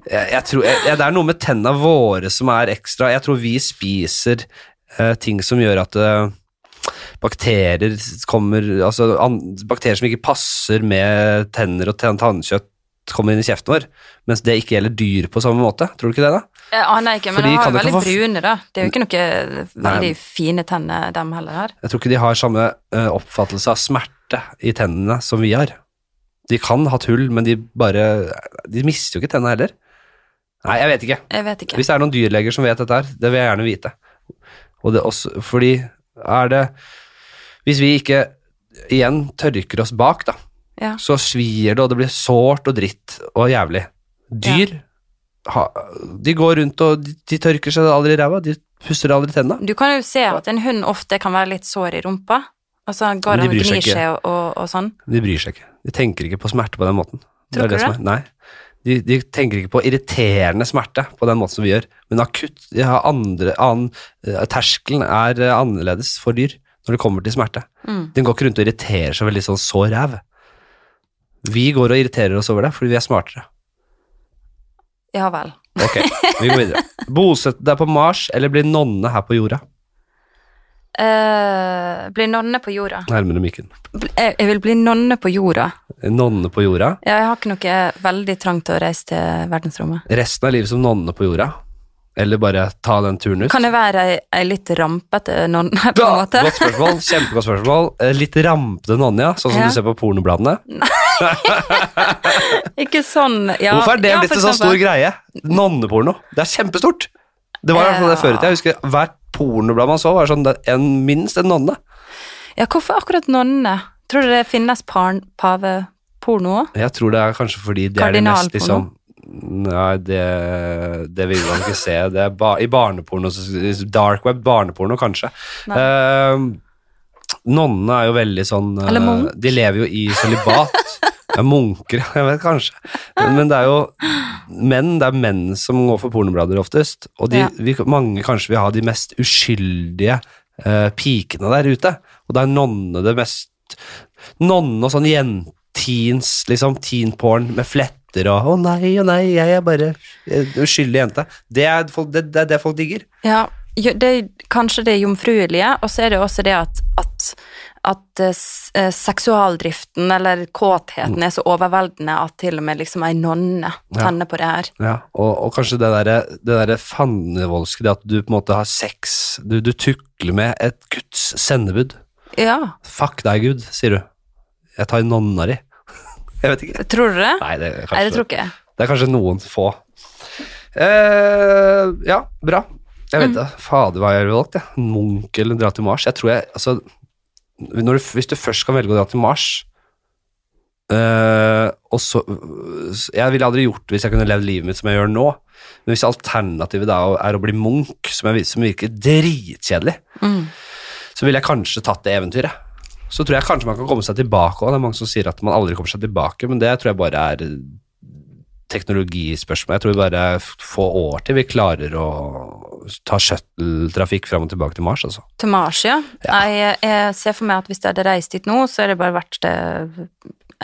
jeg, jeg tror jeg, jeg, Det er noe med tenna våre som er ekstra Jeg tror vi spiser eh, ting som gjør at eh, bakterier kommer Altså an, bakterier som ikke passer med tenner og tann- tannkjøtt, kommer inn i kjeften vår. Mens det ikke gjelder dyr på samme måte. Tror du ikke det, da? Jeg aner ikke, men Fordi Eh, han har kan jo det ikke veldig få- brune, da. Det er jo ikke noe veldig Nei. fine tenner, dem heller her. Jeg tror ikke de har samme eh, oppfattelse av smerte i tennene som vi har. De kan ha tull, men de bare De mister jo ikke tennene heller. Nei, jeg vet ikke. Jeg vet ikke. Hvis det er noen dyrleger som vet dette her, det vil jeg gjerne vite. Og det er også, fordi er det Hvis vi ikke igjen tørker oss bak, da, Ja. så svir det, og det blir sårt og dritt og jævlig. Dyr ha, De går rundt og de, de tørker seg aldri i ræva, de pusser aldri tenna. Du kan jo se at en hund ofte kan være litt sår i rumpa. Altså, han Men går de og bryr seg gnir ikke. seg og, og, og sånn. De bryr seg ikke. De tenker ikke på smerte på den måten. Tror er ikke som er- Nei. De, de tenker ikke på irriterende smerte på den måten som vi gjør, men akutt de har andre, annen, eh, terskelen er eh, annerledes for dyr når det kommer til smerte. Mm. Den går ikke rundt og irriterer seg veldig sånn så ræv. Vi går og irriterer oss over det fordi vi er smartere. Ja vel. Ok, vi går videre. Bosette deg på Mars eller bli nonne her på jorda? Eh, bli nonne på jorda. Nærmere mikken. Bl- eh, Jeg, jeg vil bli nonne på jorda. Nonne på jorda. Ja, Jeg har ikke noe veldig trangt til å reise til verdensrommet. Resten av livet som nonne på jorda. Eller bare ta den turen ut. Kan det være ei, ei litt rampete nonne, på Da, en måte? Godt spørsmål. Kjempegodt spørsmål. Eh, Litt rampete nonne, ja. Sånn som Ja. du ser på pornobladene. Ikke sånn, ja. Hvorfor er det ja, blitt for en sånn stor eksempel. greie? Nonneporno. Det er kjempestort. Det var i hvert fall det før i tida. Jeg husker hvert pornoblad man så, var sånn det- en, minst en nonne. Ja, hvorfor akkurat nonne? Tror du det finnes parn, paveporno òg? Jeg tror det er kanskje fordi det er det mest liksom Kardinalporno? Nei, det, det vil man ikke se. Det er ba, I barneporno, så- dark web, barneporno kanskje. Nei. Ehm, Nonnene er jo veldig sånn eh, Eller munk. De lever jo i sølibat. Ja, munker, jeg vet kanskje. Men, men det er jo menn det er menn som går for pornoblader oftest. Og de, Ja. vi, mange kanskje vil ha de mest uskyldige eh, pikene der ute. Og da er nonne det mest Nonne og sånn jentins, liksom, teenporn med fletter og 'Å nei, å nei, jeg er bare en uskyldig jente'. Det er, folk, det, det er det folk digger. Ja, jo, det er kanskje det jomfruelige, og så er det også det at, at, at eh, s- eh, seksualdriften eller kåtheten er så overveldende at til og med liksom ei nonne tenner på det her. Ja, og, og kanskje det derre det der fannevoldske, det at du på en måte har sex Du, du tukler med et Guds sendebud. Ja, Fuck deg, Gud, sier du. Jeg tar nonna di. Jeg vet ikke. Tror du det? Nei, det er Nei, det kanskje, tror ikke jeg. det er kanskje noen få. Eh, ja, bra. Jeg vet det. Fader, hva jeg ville valgt. jeg. Munch eller dra til Mars. Jeg tror jeg, altså, når du, Hvis du først kan velge å dra til Mars eh, og så, Jeg ville aldri gjort det hvis jeg kunne levd livet mitt som jeg gjør nå. Men hvis alternativet da er å bli Munch, som, jeg, som virker dritkjedelig, Mm. så ville jeg kanskje tatt det eventyret. Så tror jeg kanskje man kan komme seg tilbake òg. Det er mange som sier at man aldri kommer seg tilbake, men det tror jeg bare er teknologispørsmål. Jeg tror bare f- få år til vi klarer å ta shuttle-trafikk fram og tilbake til Mars, altså. Til Mars, ja. Jeg, jeg ser for meg at hvis jeg hadde reist dit nå, så er det bare vært eh,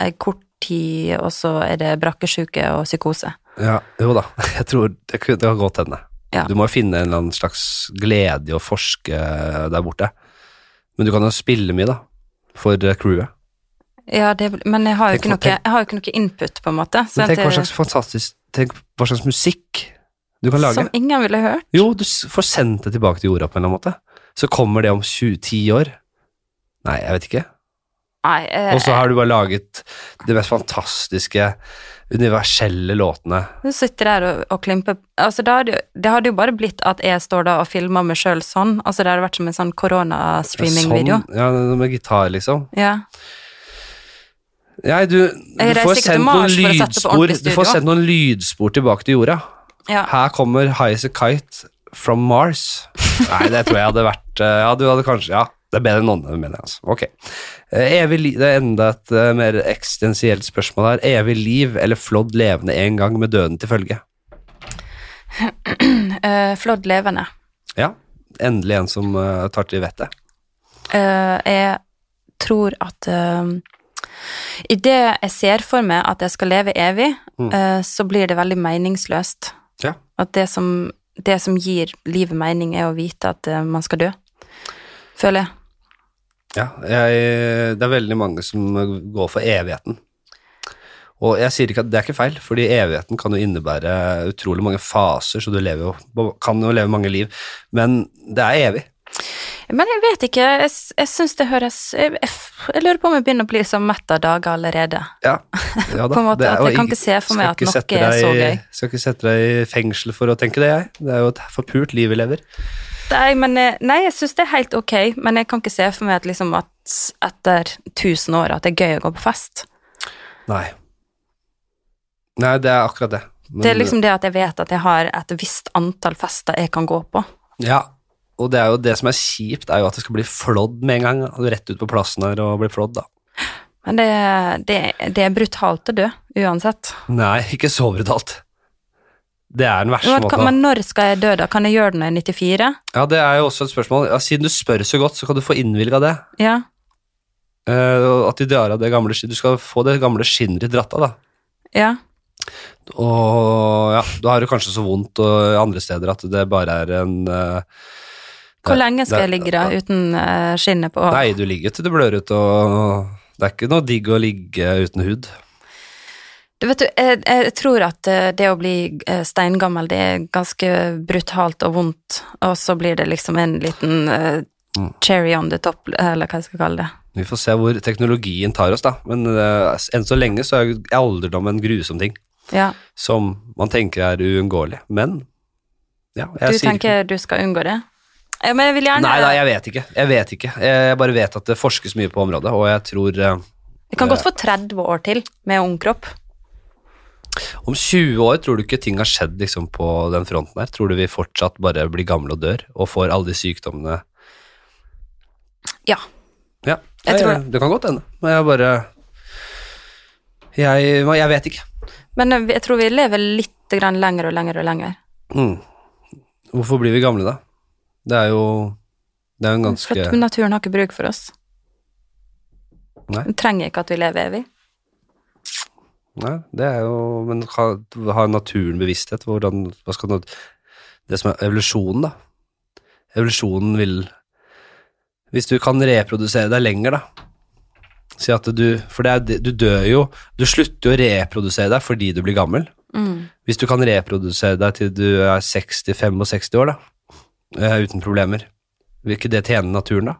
en kort tid, og så er det brakkesjuke og psykose. Ja, jo da. Jeg tror det, kunne- det kan godt hende. Ja. Du må jo finne en eller annen slags glede i å forske der borte. Men du kan jo spille mye, da. For eh, crewet. Ja, det, men jeg har, jo Tenk ikke på- noe, jeg har jo ikke noe input, på en måte. så Men tenk at hva det- slags fantastisk Tenk hva slags musikk du kan lage. Som ingen ville hørt. Jo, du s- får sendt det tilbake til jorda på en eller annen måte. Så kommer det om 20-10 år. Nei, jeg vet ikke. Nei, eh, Og så har du bare laget de mest fantastiske, universelle låtene. Du sitter der og, og klimper altså, det, hadde, jo- det hadde jo bare blitt at jeg står da og filmer meg sjøl sånn. Altså, det hadde vært som en sånn koronastreamingvideo. Sånn, ja, med gitar, liksom. Ja. Nei, du, du Jeg reiser får ikke til sendt noen Mars for å sette på lydspor ordentlig Du får studio. sendt noen lydspor tilbake til jorda. ja. Her kommer High As A Kite from Mars. Nei, det tror jeg hadde vært eh, Ja, du hadde kanskje Ja, det er bedre enn nonne, mener jeg. Altså. Ok. Eh, Evig liv, Det er enda et eh, mer eksistensielt spørsmål her. Evig liv eller flådd levende en gang med døden til følge? Eh, flådd levende. Ja. Endelig en som eh, tar til vettet. Eh, jeg tror at uh, Idet jeg ser for meg at jeg skal leve evig, Mm. eh, så blir det veldig meningsløst. Ja. At det som, det som gir livet mening, er å vite at eh, man skal dø. Føler jeg. Ja, jeg, det er veldig mange som går for evigheten. Og jeg sier ikke at det er ikke feil, fordi evigheten kan jo innebære utrolig mange faser, så du lever jo, kan jo leve mange liv, men det er evig. Men jeg vet ikke, jeg, s- jeg syns det høres jeg, jeg, f- jeg lurer på om jeg begynner å bli så mett av dager allerede. Ja, ja da. På en måte, Det er at jo jeg kan ikke se for meg skal at ikke noe sette er så deg i- gøy. Skal ikke sette deg i fengsel for å tenke det, jeg. Det er jo et forpult liv vi lever. Nei, men, eh, nei jeg syns det er helt ok, men jeg kan ikke se for meg at, liksom, at etter 1000 år at det er gøy å gå på fest. Nei. Nei, det er akkurat det. Men- det er liksom det at jeg vet at jeg har et visst antall fester jeg kan gå på. Ja, og det er jo det som er kjipt, er jo at det skal bli flådd med en gang. og Rett ut på plassen her og bli flådd, da. Men det, det, det er brutalt å dø, uansett. Nei, ikke så brutalt. Det er den verste Men, hva- måten. men når skal jeg dø, da? Kan jeg gjøre det når jeg er 94? Ja, det er jo også et spørsmål. Ja, siden du spør så godt, så kan du få innvilga det. Ja. Eh, og at de drar av det gamle skinn- Du skal få det gamle skinnet ditt dratt av, da. ja. Og ja, da har du kanskje så vondt og andre steder at det bare er en eh, Hvor det- lenge skal jeg det- ligge da uten eh, skinnet på? Nei, du ligger til du blør ut, og det er ikke noe digg å ligge uten hud. Du vet du, jeg, jeg tror at eh, det å bli eh, steingammel, det er ganske brutalt og vondt, og så blir det liksom en liten eh, Mm. cherry on the top, eller hva jeg skal kalle det. Vi får se hvor teknologien tar oss, da. Men eh, enn så lenge så er alderdom en grusom ting Ja. som man tenker er uunngåelig. Men ja, jeg sier Du ikke tenker du skal unngå det? Ja, men jeg vil gjerne Nei da, jeg vet ikke. Jeg vet ikke. Jeg bare vet at det forskes mye på området, og jeg tror eh, Jeg kan godt få 30 år til med ung kropp. Om 20 år tror du ikke ting har skjedd liksom, på den fronten her? Tror du vi fortsatt bare blir gamle og dør, og får alle de sykdommene Ja. Ja, Jeg Nei, tror det. kan godt hende. Men jeg bare Jeg, jeg vet ikke. Men eh, jeg tror vi lever litt grann lenger og lenger og lenger. Mm. Hvorfor blir vi gamle, da? Det er jo Det er jo en For ganske at naturen har ikke bruk for oss. Nei. Den trenger ikke at vi lever evig. Nei, det er jo Men har, har naturen bevissthet? Hvordan Hva skal nat- Det som er evolusjonen, da. Evolusjonen vil Hvis du kan reprodusere deg lenger, da. Si at du For det er, det- du dør jo Du slutter jo å reprodusere deg fordi du blir gammel. Mm. Hvis du kan reprodusere deg til du er 60-65 år, da. eh, uten problemer. Vil ikke det tjene naturen, da?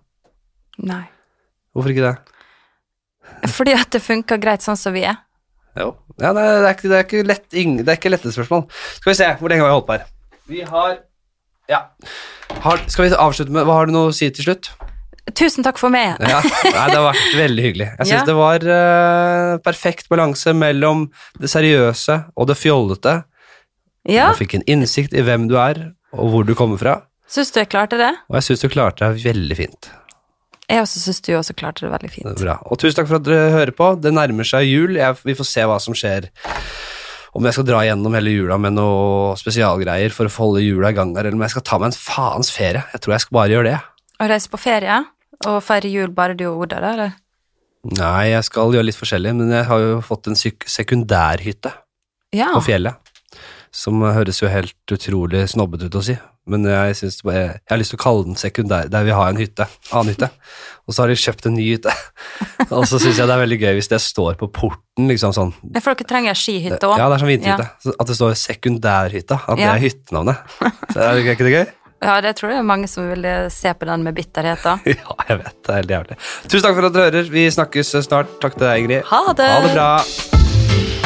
Nei. Hvorfor ikke det? Fordi at det funker greit sånn som vi er. Jo. Ja, nei, det, er ikke, det, er ikke lett, ing- det er ikke lette spørsmål. Skal vi se, hvor lenge har vi holdt på her? Vi har Ja. Har, skal vi avslutte med Hva har du noe å si til slutt? Tusen takk for meg. Ja, nei, Det har vært veldig hyggelig. Jeg syns Ja. det var eh, perfekt balanse mellom det seriøse og det fjollete. Ja, Jeg fikk en innsikt i hvem du er, og hvor du kommer fra. syns du jeg klarte det? Og jeg syns du klarte deg veldig fint. Jeg også syns du også klarte det veldig Det fint. er bra. Og tusen takk for at dere hører på. Det nærmer seg jul. Jeg, vi får se hva som skjer. Om jeg skal dra gjennom hele jula med noe spesialgreier for å få holde jula i gang der, eller om jeg skal ta meg en faens ferie. Jeg tror jeg skal bare gjøre det. Å reise på ferie og feire jul bare du og Oda, da? eller? Nei, jeg skal gjøre litt forskjellig, men jeg har jo fått en syk- sekundærhytte Ja. på fjellet. Som høres jo helt utrolig snobbete ut å si, men jeg, synes bare, jeg har lyst til å kalle den sekundær, der vi har en hytte, annen hytte. Og så har de kjøpt en ny hytte. Og så syns jeg det er veldig gøy hvis det står på porten, liksom sånn Nei, For dere trenger skihytte òg. Ja, det er sånn vinterhytte. Så At det står sekundærhytta. At det Ja. er hyttenavnet. Så er det- er ikke det gøy? Ja, det tror jeg er mange som ville se på den med bitterhet, da. Ja, jeg vet. Det er helt jævlig. Tusen takk for at dere hører. Vi snakkes snart. Takk til deg, Ingrid. Ha det! Ha det bra.